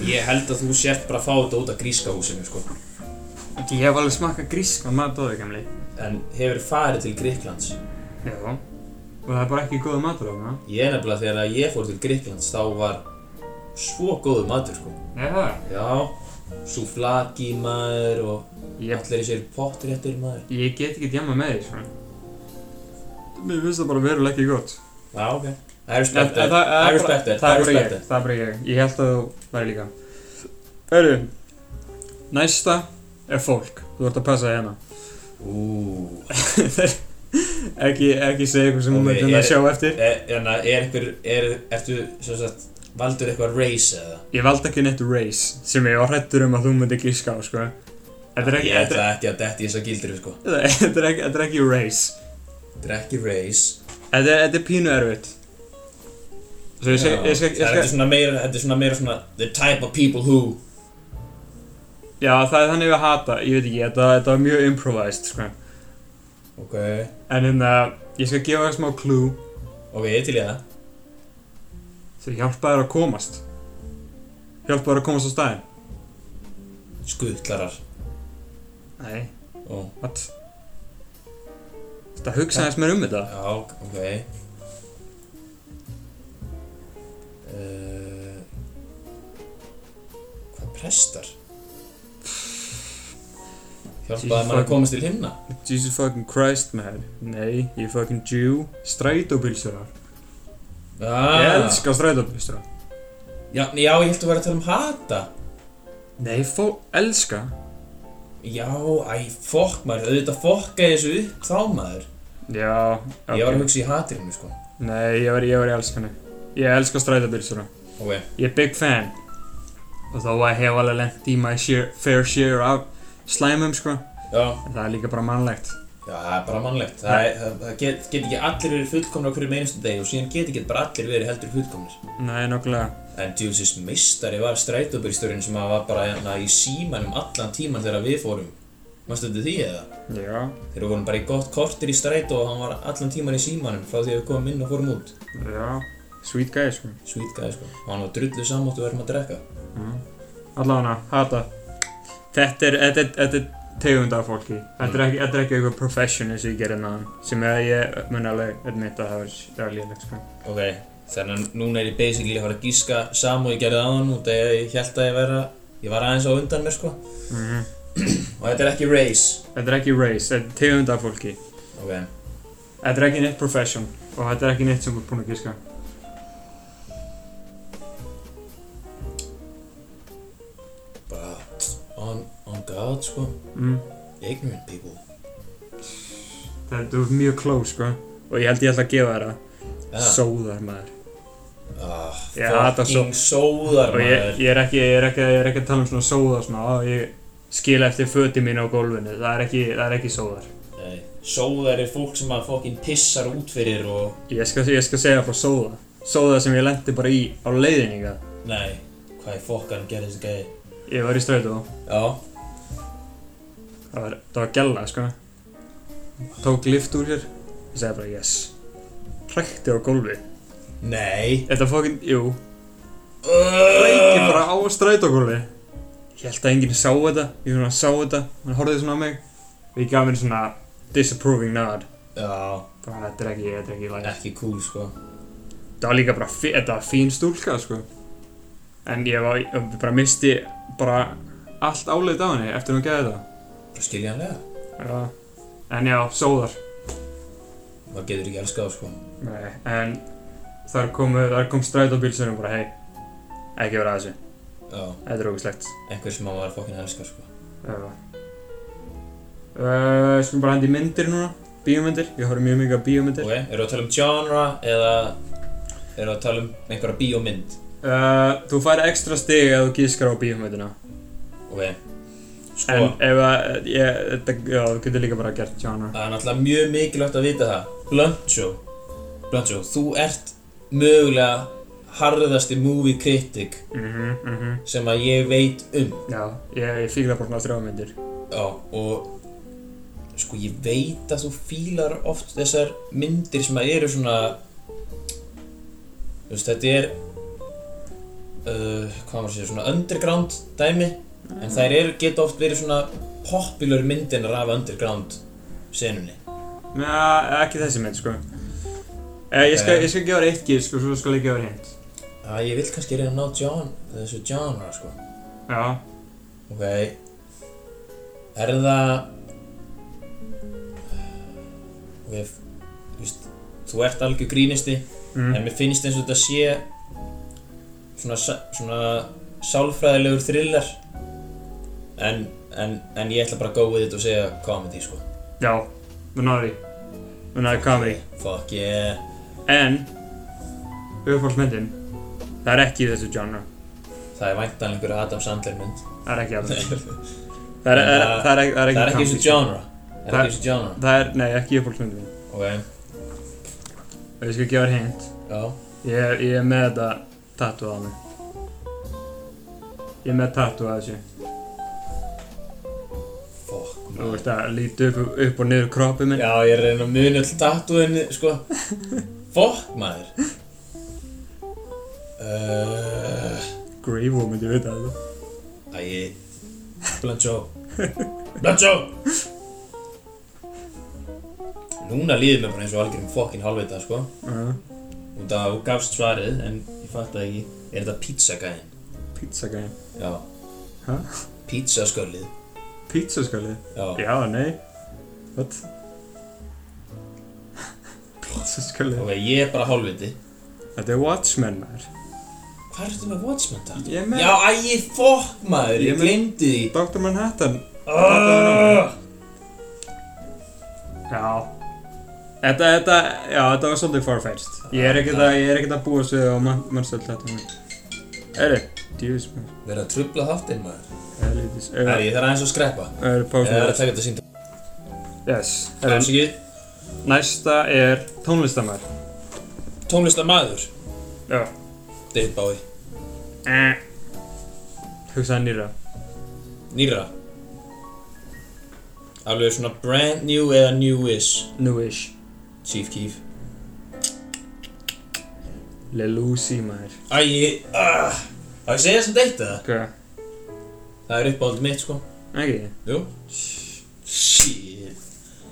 Ég held að þú sért bara að fá þetta út af gríska húsinu sko Ekki, ég hef alveg smakkað grískan mat á þau, gamli. En hefur farið til Gríklands Já. Og það er bara ekki góða matur á það. Ég er nefnilega þegar að ég fór til Gríklands þá var svo góðu matur sko Já. Já, súflaki maður og Ég allir þessir pottréttir maður Ég get ekki djama með því, sko. svona. Mér finnst það bara verulega ekki gott. Já, ok I Það respect það- that, I það er bara respect that, það I er bara respect ég. that Það er bara ég. Ég held að þú væri líka. Hörru, næsta er fólk. Þú ert að passa þig hérna. Ú, *laughs* ekki, ekki segja eitthvað sem Ok, hún myndi að er- sjá eftir. er, hérna, er einhver, er, ertu, sem sagt, valdur eitthvað race eða? Ég valdi ekki neitt race sem ég var hrættur um að þú myndi gíska á, sko. En Þetta er ekki, Ég þetta ætla ekki að detti þess að gildir sko er- *laughs* þetta er ekki, þetta er ekki race. Þetta er ekki race Þetta er, þetta er pínu erfitt. Svo ég Já, skal, ég skal, það er- ég Þetta er skal, svona meira, þetta er svona meira svona The type of people who já það er þannig við hata, ég veit ekki, þetta, þetta var mjög improvised, sko. Ok, En hérna, ég skal gefa þér smá clue ok, ég er til í það þegar hjálpa þér að komast. Hjálpa þér að komast á staðinn. Skuttlarar Nei, Ó, what? Þetta hugsa aðeins mér um þetta. Já, ok uh, Hvað prestar? Hjálpaði maður að komast til himna? Jesus fucking Christ, man. Nei, ég er fucking Jew. Strætóbílstjórar. Ah, Ég elska strætóbílstjórar. Já, já, ég held að vera að tala um hata Nei, fó, elska. Já, æ, fokk maður, auðvitað fokkaði þessu upp þá maður Já, ok. Ég var að hugsa í hatirinu, sko Nei, ég var, ég var í elskanu. Ég elska strætóbílstjóra. Ok, Ég er big fan. Og þó að ég hef alveg lent í my share, fair share af slæmum, sko. já, En það er líka bara mannlegt. já, það er bara mannlegt Það, er- það, það get, get ekki allir verið fullkomnir á hverju meinustu degi og síðan get ekki bara allir verið heldur fullkomnir Nei, nokkulega. En djúsins meistari var strætóbyrjstörinn sem að var bara hérna í símanum allan tíman þegar við fórum. Manstu þetta því eða? Já. Þeir vorum bara í gott kortir í strætó og hann var allan tíman í símanum frá því að við komum inn og fórum út. Já. Sweet guy, sko. Sweet guy sko. Og hann var drullu samótt og verðum að drekka. Allavega, hata. Þetta er, þetta er, þetta er tegund af fólki. Þetta er ekki, þetta er ekki eitthvað profession eins og ég gerir náðan. Sem ég, ég eh, mun alveg admit að það var, það var léleg, sko. Ok, þannig að núna er ég basically að fara að gíska samó ég gerði aðan út þegar ég held að ég vera, ég var aðeins á undan mér sko. Mhm. Og þetta er ekki race. Þetta er ekki race, þetta er tegund af fólki. Ok, Þetta er ekki neitt profession og þetta er ekki neitt sem þú ert búinn að gíska. bara on, on God sko. Mm. Ignorant people. Þetta er mjög close, sko. Og ég held ég ætla að gefa þér það. Ja. Sóðar maður. Ah, Ég hata fucking sóðar Og ég, maður ég, er ekki, ég, er ekki, ég er ekki að tala um svona sóðar svona. Á, ég skila eftir föti mín á gólfinu. Það er ekki, það er ekki sóðar. Nei, Sóðar er fólk sem að fokkin pissar út fyrir og Ég skal, ég skal segja frá sóða. Sóða sem ég lendi bara í á leiðinni, hvað. Nei, hvað er fokkan gerði þessi gæði Ég var í strætó. Já, Það var, það var gælla, sko. Tók lift úr sér. Ég segi bara yes. Hrækti á gólfi. nei Þetta fokkin, jú. Reykir Reykir bara á strætókóli Ég held að enginn sá þetta Ég svona sá þetta Hann horfði svona á mig Og ég gaf mér svona Disapproving nod Já, Bara þetta er ekki, þetta er ekki læg ekki cool sko Þetta var líka bara, fí- þetta var fín stúlka sko En ég var, ég bara misti Bara allt áleit á henni Eftir hún geði Bara skiljanlega þetta Já En já, sóðar Maður getur ekki elskað þá, sko Nei, en Þar komu, þar kom strætóbílsverðum bara hei Ekki vera að þessu, Já, þetta er ógislegt einhver sem maður var fokkin elskað sko Já. Uh, skulum bara hendi í myndir núna, bíómyndir, ég horf mjög mikið á bíómyndir. Ok, eru að tala um genre eða eru að tala um einhverja bíómynd Uh, þú fær ekstra stig ef þú gískar á bíómyndina. Ok, sko En ef að, eh, ég, þetta, já, þú getur líka bara gert genre. Það er náttúrulega mjög mikilvægt að vita það. Blöndsjó, Blöndsjó, þú ert mögulega harðasti movie critic Mhm, mhm. sem að ég veit um. Já, ég, ég fíla bara svona þrjá myndir. Já, og sko ég veit að þú fílar oft þessar myndir sem að eru svona, þú veist þetta er, uh, hvað maður segir, svona underground dæmi, en þær eru, geta oft verið svona popular myndinar af underground senunni. Já, ekki þessi mynd, sko. Uh, ég skal, Ok. ég skal gefa þér eitt gísk og svo skal ég gefa þér hint. Já, ég vil kannski reyna að ná gen- þessu genre, sko. Já, Ok Er það Ok f- Þú veist Þú ert algjör grínisti En mm, mér finnst eins og þetta sé Svona, sa- svona Sálfræðilegur thriller En, en, en ég ætla bara að go with it og segja comedy sko já, þú náður því. Þú náður comedy. Fuck yeah En, uppfólksmyndin, það er ekki í þessu genre. Það er væntanlega einhver Adam Sandler mynd *laughs* Það er ekki alveg. Það er, er, Það- það er, ekki- það er Það ekki er ekki campy, sko. þessu genre Það er Það- ekki þessu genre Það er, nei, ekki uppáhaldsmyndin mín. Ok, Og ég skal gefa þér hint. já Ég er, ég er með þetta tattoo á mig. Ég er með tattoo að þessu. Fuck Þú man. veist að líti upp, upp og niður kroppið minn. Já, ég er að reyna að muni all tattooinni, sko Fuck maður Uh, Gravo myndi vita þetta. Æ, Blanchó Blanchó Núna líður mér bara eins og algjörum fokkin halvvita, sko Uh, Út af að þú gafst svarið, en ég fatt það ekki Er þetta pizzagæðin? pizza gæm. Já Hæ? Pizzaskölið Pizza skalið? Já, Já, nei. What? pizza skalið. ok, ég er bara hálfviti Þetta er Watchmen maður. Hvað ertu með Watchmen tattoo? Ég er með- Já, æ, fokk maður, Ég ég er með- glemdi því Dr. Manhattan. Ah! Já. Þetta, þetta, já, þetta var svolítið farfetched. Ég er ekkert að, ég er ekkert að búa sig á mann, mannstöld þetta mér. Eri, djúvis mér. Verða að trubla þáttinn maður Helvítis. Herri, Eri, ég þarf aðeins að skreppa eri, Ég þarf pása. að taka þetta sínt Yes. Eri, Kanski næsta er tónlistamær. tónlistamaður Já. David Bowie Eh. Hugsaði nýra. Nýra Alveg svona brand new eða new-ish Newish. Chief Keef Lil Uzi maður. Æ, ég... ah! Á ég að segja samt eitt eða? Hvað? Það er uppáhaldið mitt sko Ekki? Jú Shit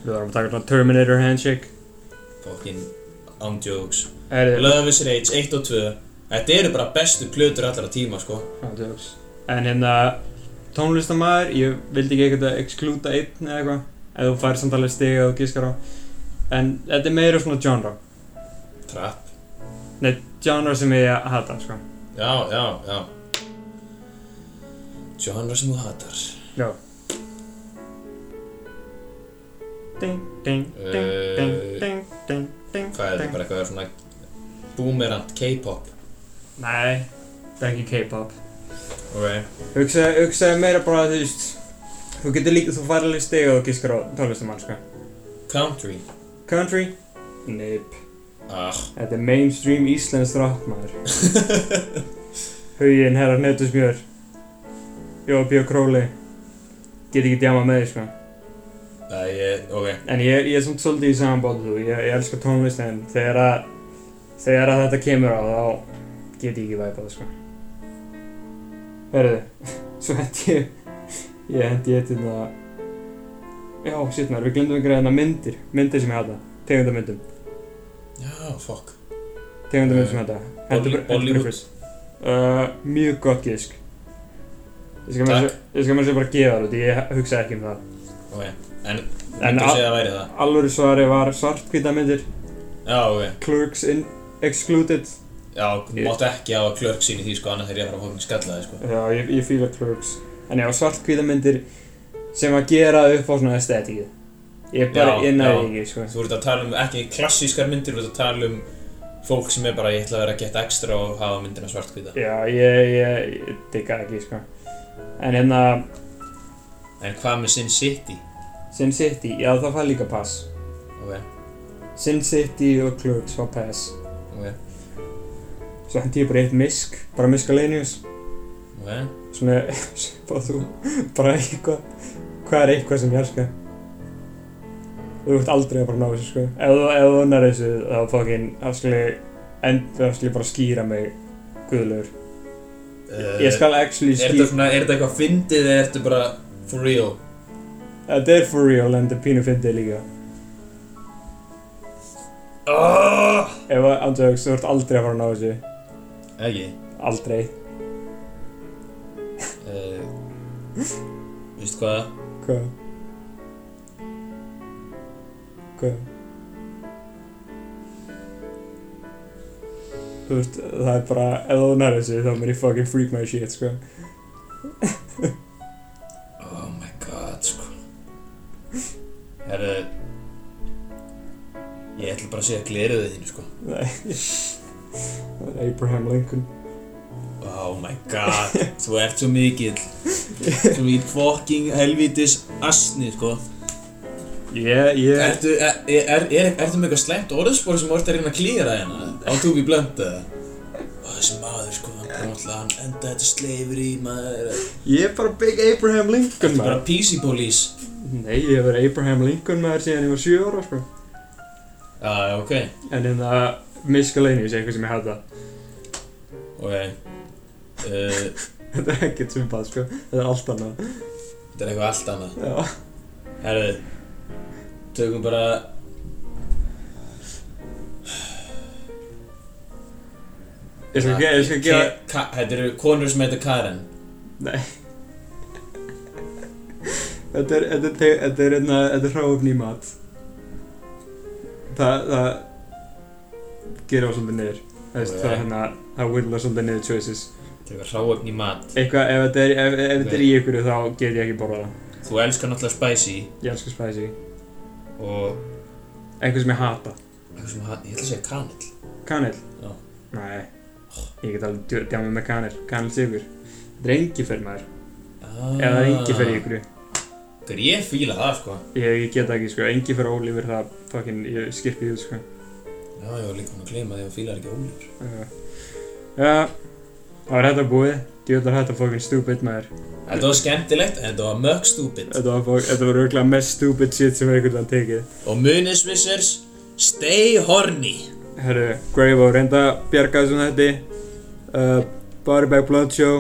Við varum að taka svona Terminator handshake. Fucking Amdjóks Eri, Love is Rage 1 og 2 Þetta eru bara bestu plötur allra tíma sko ádjóks. En hérna, tónlistamæður, ég vildi ekki eitthvað að exklúta einn eða eitthvað. Ef þú fær samtalið stiga og gískar á. En þetta er meira svona genre. Trap Nei, genre sem ég hata, sko. Já, já, já Genre sem þú hatar Já. Ding, ding, ding, ding, Eh, ding, ding, ding, Hvað er þetta ding. bara eitthvað svona boomerant K-pop Nei, þetta er ekki K-pop. Ok Hugsaði hugsa meira bara, þú veist, þú getur líka, þú fær alveg stiga og gískar á tónlistamann, sko. Country Country? Nip. Ah Þetta er mainstream íslensk rock maður Huginn, herrar, netus mjör Jó, Björn Króli Get ekki djama með því, sko Það er, ok En ég, ég er samt svolítið í saman bóti, þú Ég, ég elska tónlist, en þegar að Þegar að þetta kemur á, þá Get ég ekki væpað, sko Herðu, *laughs* svo hendi ég Ég hendi ég til það Já, shit maður, við glemdum einhverja þarna myndir Myndir sem ég hata, tegundamyndum Já, fuck tegundum Eh, eins og þetta Hendur Bolly- bara- hendur bara Bollywood. fyrst uh, Mjög gott gisk Ég skal meira að Takk. segja- ég skal meira að segja bara gefa það út Ég hugsa ekki um það Ok En En Þú myndi að al- segja að væri það Alvöru svari var svartkvítamyndir Já, ok Clerks in excluded Já, þú Ég- mátt ekki á að klörk sín í því sko Annað þegar ég var að fókin skalla þig sko Já, ég, ég fíla Clerks En já, svartkvítamyndir sem að gera upp á svona estetikið Ég bara, Já, ég já. næði ekki, sko Þú ert að tala um ekki klassískar myndir Þú ert að tala um fólk sem er bara Ég ætla að vera að geta ekstra og hafa myndina svartkvita Já, ég, ég, ég digga ekki, sko En hérna, En hvað með Sin City? Sin City, já það fær líka pass Ok, Sin City og Clerks var pass ok, Svo hendi ég bara í eitt misk, bara miskalenius ok Svona, *laughs* svipað þú, bara eitthvað Hvað er eitthvað sem ég elska? Þú ert aldrei að bara ná þessu sko Ef þú, ef þú unnar þessu, þá fokkin afskili Endur afskili bara skýra mig Guðlegur Eh, Ég skal actually Er þetta skýra svona, er þetta eitthvað fyndið eða ertu bara for real? Þetta Eh, er for real, en þetta er pínu fyndið líka Oh! Ef að, andjóks, þú ert aldrei að fara að ná þessu Ekki Aldrei uh, Vistu hvað? Hvað? Hvað? Þú veist, það er bara, ef þú nærðu þessu, þá mun ég fucking freak my shit, sko. Oh my god sko Herru Ég ætla bara að segja gleruðu þínu sko Nei. Það er Abraham Lincoln. Oh my god Þú ert svo mikill sem ekki fucking helvítis asni, sko. Ég, ég, Ertu, er, er, er, ertu með eitthvað slæmt orðspor sem orðið að reyna að klíra hérna? Á túbi blönd eða? Og þessi maður, sko, hann bara alltaf, hann enda þetta sleifur í maður. Þetta ég er bara Big Abraham Lincoln er bara maður. PC police. Nei, ég hef verið Abraham Lincoln maður síðan ég var 7 ára, sko. Já, já, ok, En en það miskaleinið sé eitthvað sem ég hata. ok. Uh, Þetta er ekkert svipað, sko. Þetta er allt annað. þetta er eitthvað allt annað. Já. Herðu, tökum bara... Ég skal gefa, ég skal gefa... Ke- Ka- Þetta eru konur sem heita Karen. Nei. Þetta er, þetta er, te- þetta er, einna, þetta er hráöfni í mat. Það, það gerir á svolítið niður. Það veist, það Nei. hérna, það vilja svolítið niður choices. Þetta er eitthvað ráöfn í mat. Eitthvað, ef þetta er, ef, ef þetta er í ykkur þá get ég ekki borða það. Þú elskar náttúrulega spicy Ég elskar spicy. og... Eitthvað sem ég hata. Eitthvað sem hann... Ég ætla að segja kanel. Kanel. Já. Nei. Ég get alveg djö- djámið með kanel. Kanel sigur. Þetta er engifer maður. Ah. Ef það er engifer í ykkur. Hver ég fíla það sko Ég ég get það ekki, sko. Engifer og Oliver, það fucking, ég skipið því, sko. Já, ég var líka hann að gleyma því að fíla er ekki ólífur Já, Já, það var hægt að búið. Djöðlar hægt að fókin stupid maður. Þetta var skemmtilegt en þetta var mögg stúpid Þetta var, fó- þetta var örgulega mest stupid shit sem einhvern veginn tekið. Og munisvissers, stay horny Herru, Gravo, reynda að bjarga þessum þetta. Uh, Body Bag Blood Show,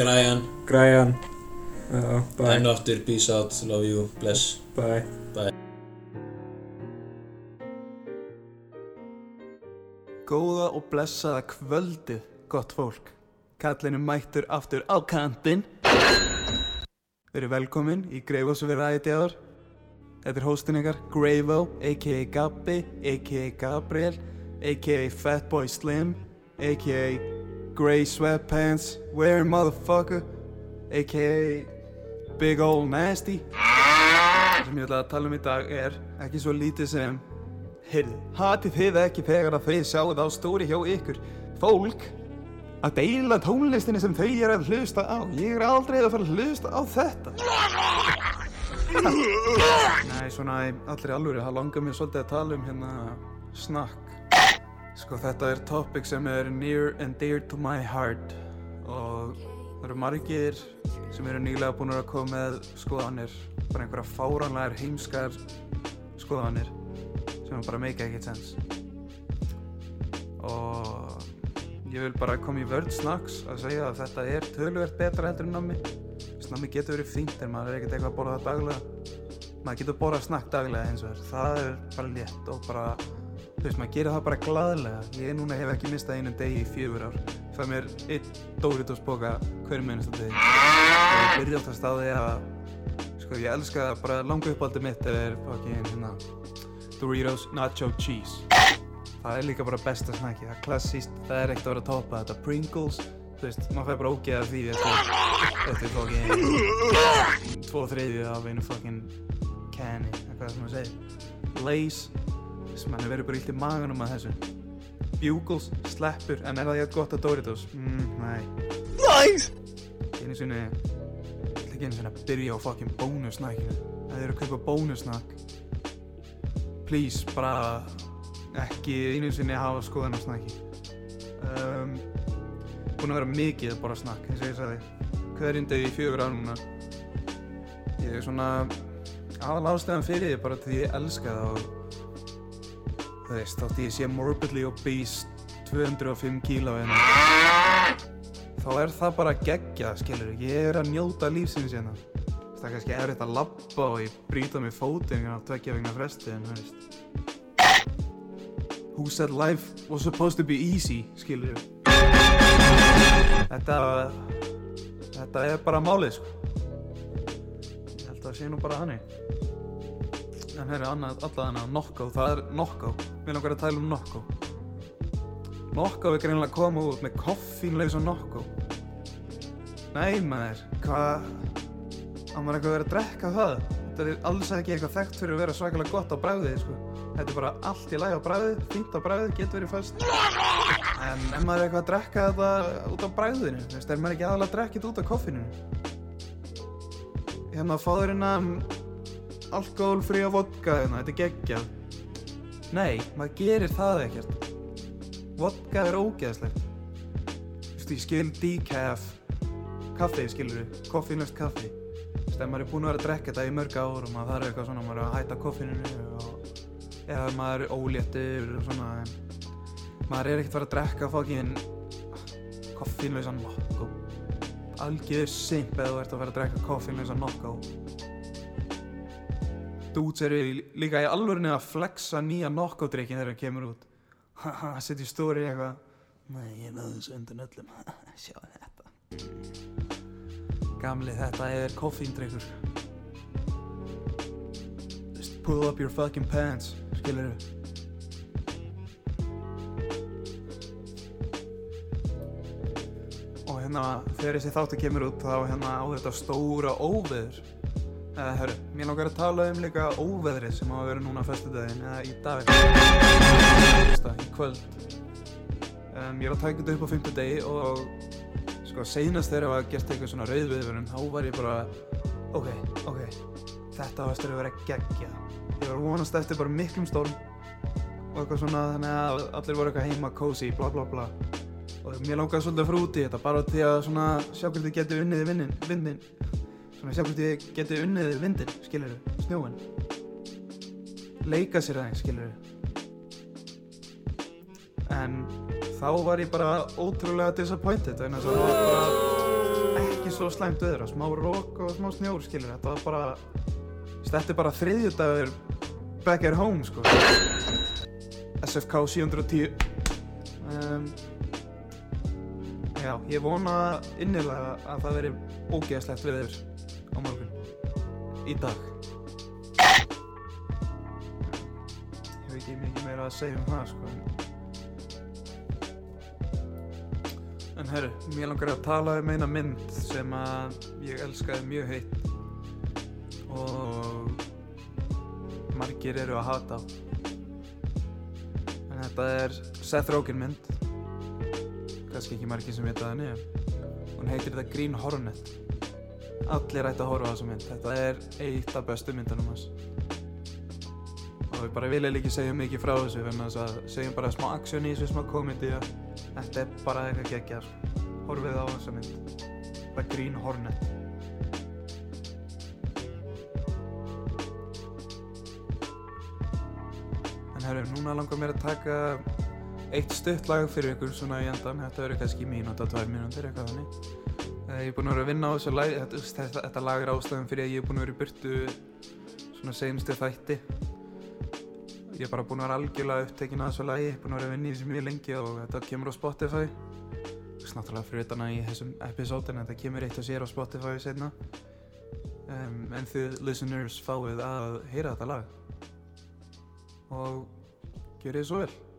Græjan, Græjan. Já, bye, enn og aftur, peace out, love you, bless bye. Góða og blessaða kvöldið, gott fólk. Kallinu mættur aftur á kantinn. Verið velkomin í Greifo sem við ræðið þér. Þetta er hóstinn ykkar, Greifo, a.k.a. Gabbi, a.k.a. Gabriel, a.k.a. Fatboy Slim, a.k.a. Grey Sweatpants, Wearing Motherfucker, a.k.a. Big Ol' Nasty. Það sem ég ætla að tala um í dag er ekki svo lítið sem Heyrðu, hatið þið ekki þegar að þið sjáuð á stóri hjá ykkur fólk að deila tónlistinni sem þau eru að hlusta á? Ég er aldrei að fara að hlusta á þetta. Nei, svona í allri alvöru, það langar mér svolítið að tala um hérna snakk. Sko, þetta er topic sem er near and dear to my heart og það eru margir sem eru nýlega búin að koma með skoðanir, bara einhverja fáranlegar heimskar skoðanir sem bara make ekkert sens og ég vil bara koma í vörð snakks að segja að þetta er töluvert betra heldur en nammi Þess, nammi getur verið fínt en maður er ekkert eitthvað að borða það daglega maður getur borðað snakk daglega eins og þess það er bara létt og bara þú veist maður gerir það bara gladlega ég núna hef ekki mistað einum degi í fjögur ár það er mér einn Doritos boka hverjum einasta degi og ég byrja alltaf staði að sko ég elska bara langa uppáldi mitt er fucking hérna Doritos Nacho Cheese Það er líka bara besta snakki, það er klassíst, það er ekkert að vera að toppa þetta Pringles, þú veist, maður fær bara ógeða því eftir, eftir fokkin tvo þriðju af einu fokkin canni, eitthvað sem maður segir Lays, sem mann er verið bara illt í maganum að þessu Bugles, sleppur, en er það jægt gott að Doritos? Mm, nei Næs! Nice. Einu sinni, ég ætla ekki einu sinni að byrja á fokkin bónusnakkinu Það eru að kaupa bónusnakk please, bara ekki einu sinni hafa skoðan á snakki um, búin að vera mikið að borða snakk eins og ég sagði hverjum degi í fjögur ár núna ég er svona aðal ástæðan fyrir því bara til því ég elska það og þú veist, þátt ég sé morbidly obese 205 kíló en þá er það bara geggja, skilur ég er að njóta lífsins hérna það er kannski erfitt að labba og ég brýta mig fótinn á tveggja vegna fresti en þú veist Who said life was supposed to be easy, skilur ég Þetta Þetta er bara málið, sko Ég held að það sé nú bara hannig En herri, annað, alltaf annað, nokkó, það er nokkó Mér langar að tala um nokkó Nokkó er greinilega að koma út með koffínlausa nokkó Nei maður, hvað að maður eitthvað verið að drekka það þetta er alls ekki eitthvað þekkt fyrir að vera svakalega gott á bræðið sko. þetta er bara allt í lagi á bræðið fínt á bræðið, getur verið fast Nei, En ef maður er eitthvað að drekka þetta út á bræðinu, þú veist, er maður ekki aðalega að drekka þetta út á koffinu? Hérna, fáður hérna alkoholfría vodka, hérna, þetta er geggja. Nei, maður gerir það ekkert. Vodka er ógeðslegt. Þú veist, ég skil um decaf, kaffi, skilur við, koffinlöst kaffi. Þú veist, ef maður er búinn að vera að drekka þetta í mörg ár og maður þarf eitthvað svona, maður er að hætta koffininu og eða maður er óléttur og svona, en maður er ekkert að fara að drekka fokkin koffínlausan nokko algjör simp eða þú ert að fara að drekka koffínlausan nokko Dudes eru í- líka í alvörinu að flexa nýja nokkodrykkin þegar það kemur út Haha, setjum stóri eitthvað Nei, ég náðu þessu undan öllum *laughs* Sjá þetta Gamli, þetta er koffíndrykkur Just pull up your fucking pants Skilur þau og hérna þegar þessi þáttu kemur út þá hérna á þetta stóra óveður eða hörru, mér langar að tala um líka óveðrið sem á að vera núna föstudaginn eða í dag Fyrsta, í kvöld um, ég er að taka þetta upp á fimmtudegi og sko seinast þegar ég var gert eitthvað svona rauðviðvörun þá var ég bara ok, ok, þetta var eftir að vera geggja ég var að vonast eftir bara miklum storm og eitthvað svona þannig að allir voru eitthvað heima cozy, bla bla bla og mér langaði svolítið að fara út í þetta bara til að svona sjá hvernig þið getur unnið vinnin, vindin svona sjá hvernig þið getur unnið vindin, skilur þau, snjóin leika sér aðeins, skilur þau en þá var ég bara ótrúlega disappointed vegna þess að það var bara ekki svo slæmt öðra, smá rók og smá snjór, skilur þetta var bara þetta er bara þriðjudagur back at home, sko SFK 710 um, Já, ég vona innilega að það veri ógeðslegt við á morgun. Í dag. Ég hef ekki mikið meira að segja um það, sko. en- En herru, mér langar að tala um eina mynd sem að ég elskaði mjög heitt og margir eru að hata á. En þetta er Seth Rogen mynd kannski ekki margir sem vita það nefn hún heitir þetta Green Hornet allir ætti að horfa á þessa mynd þetta er eitt af bestu myndunum hans og við bara viljum ekki segja mikið frá þessu en þess að segjum bara smá aksjón í þessu smá komedi þetta er bara eitthvað geggjar horfið á þessa mynd þetta er Green Hornet en herru, núna langar mér að taka eitt stutt lag fyrir ykkur svona í endan, þetta verður kannski mínúta, tvær mínútur, eitthvað þannig. Eh, Ég er búinn að vera að vinna á þessu lag, þetta, þetta, þetta lag er ástæðan fyrir að ég er búinn að vera í burtu svona seinustu þætti. Ég er bara búinn að vera algjörlega upptekinn af þessu lagi, ég er búinn að vera að vinna í þessu mjög lengi og þetta kemur á Spotify. Þess náttúrulega fyrir utan að í þessum episódin, þetta kemur eitt og sér á Spotify seinna. Um, en þið listeners fáið að heyra þetta lag. Og gjörið svo vel.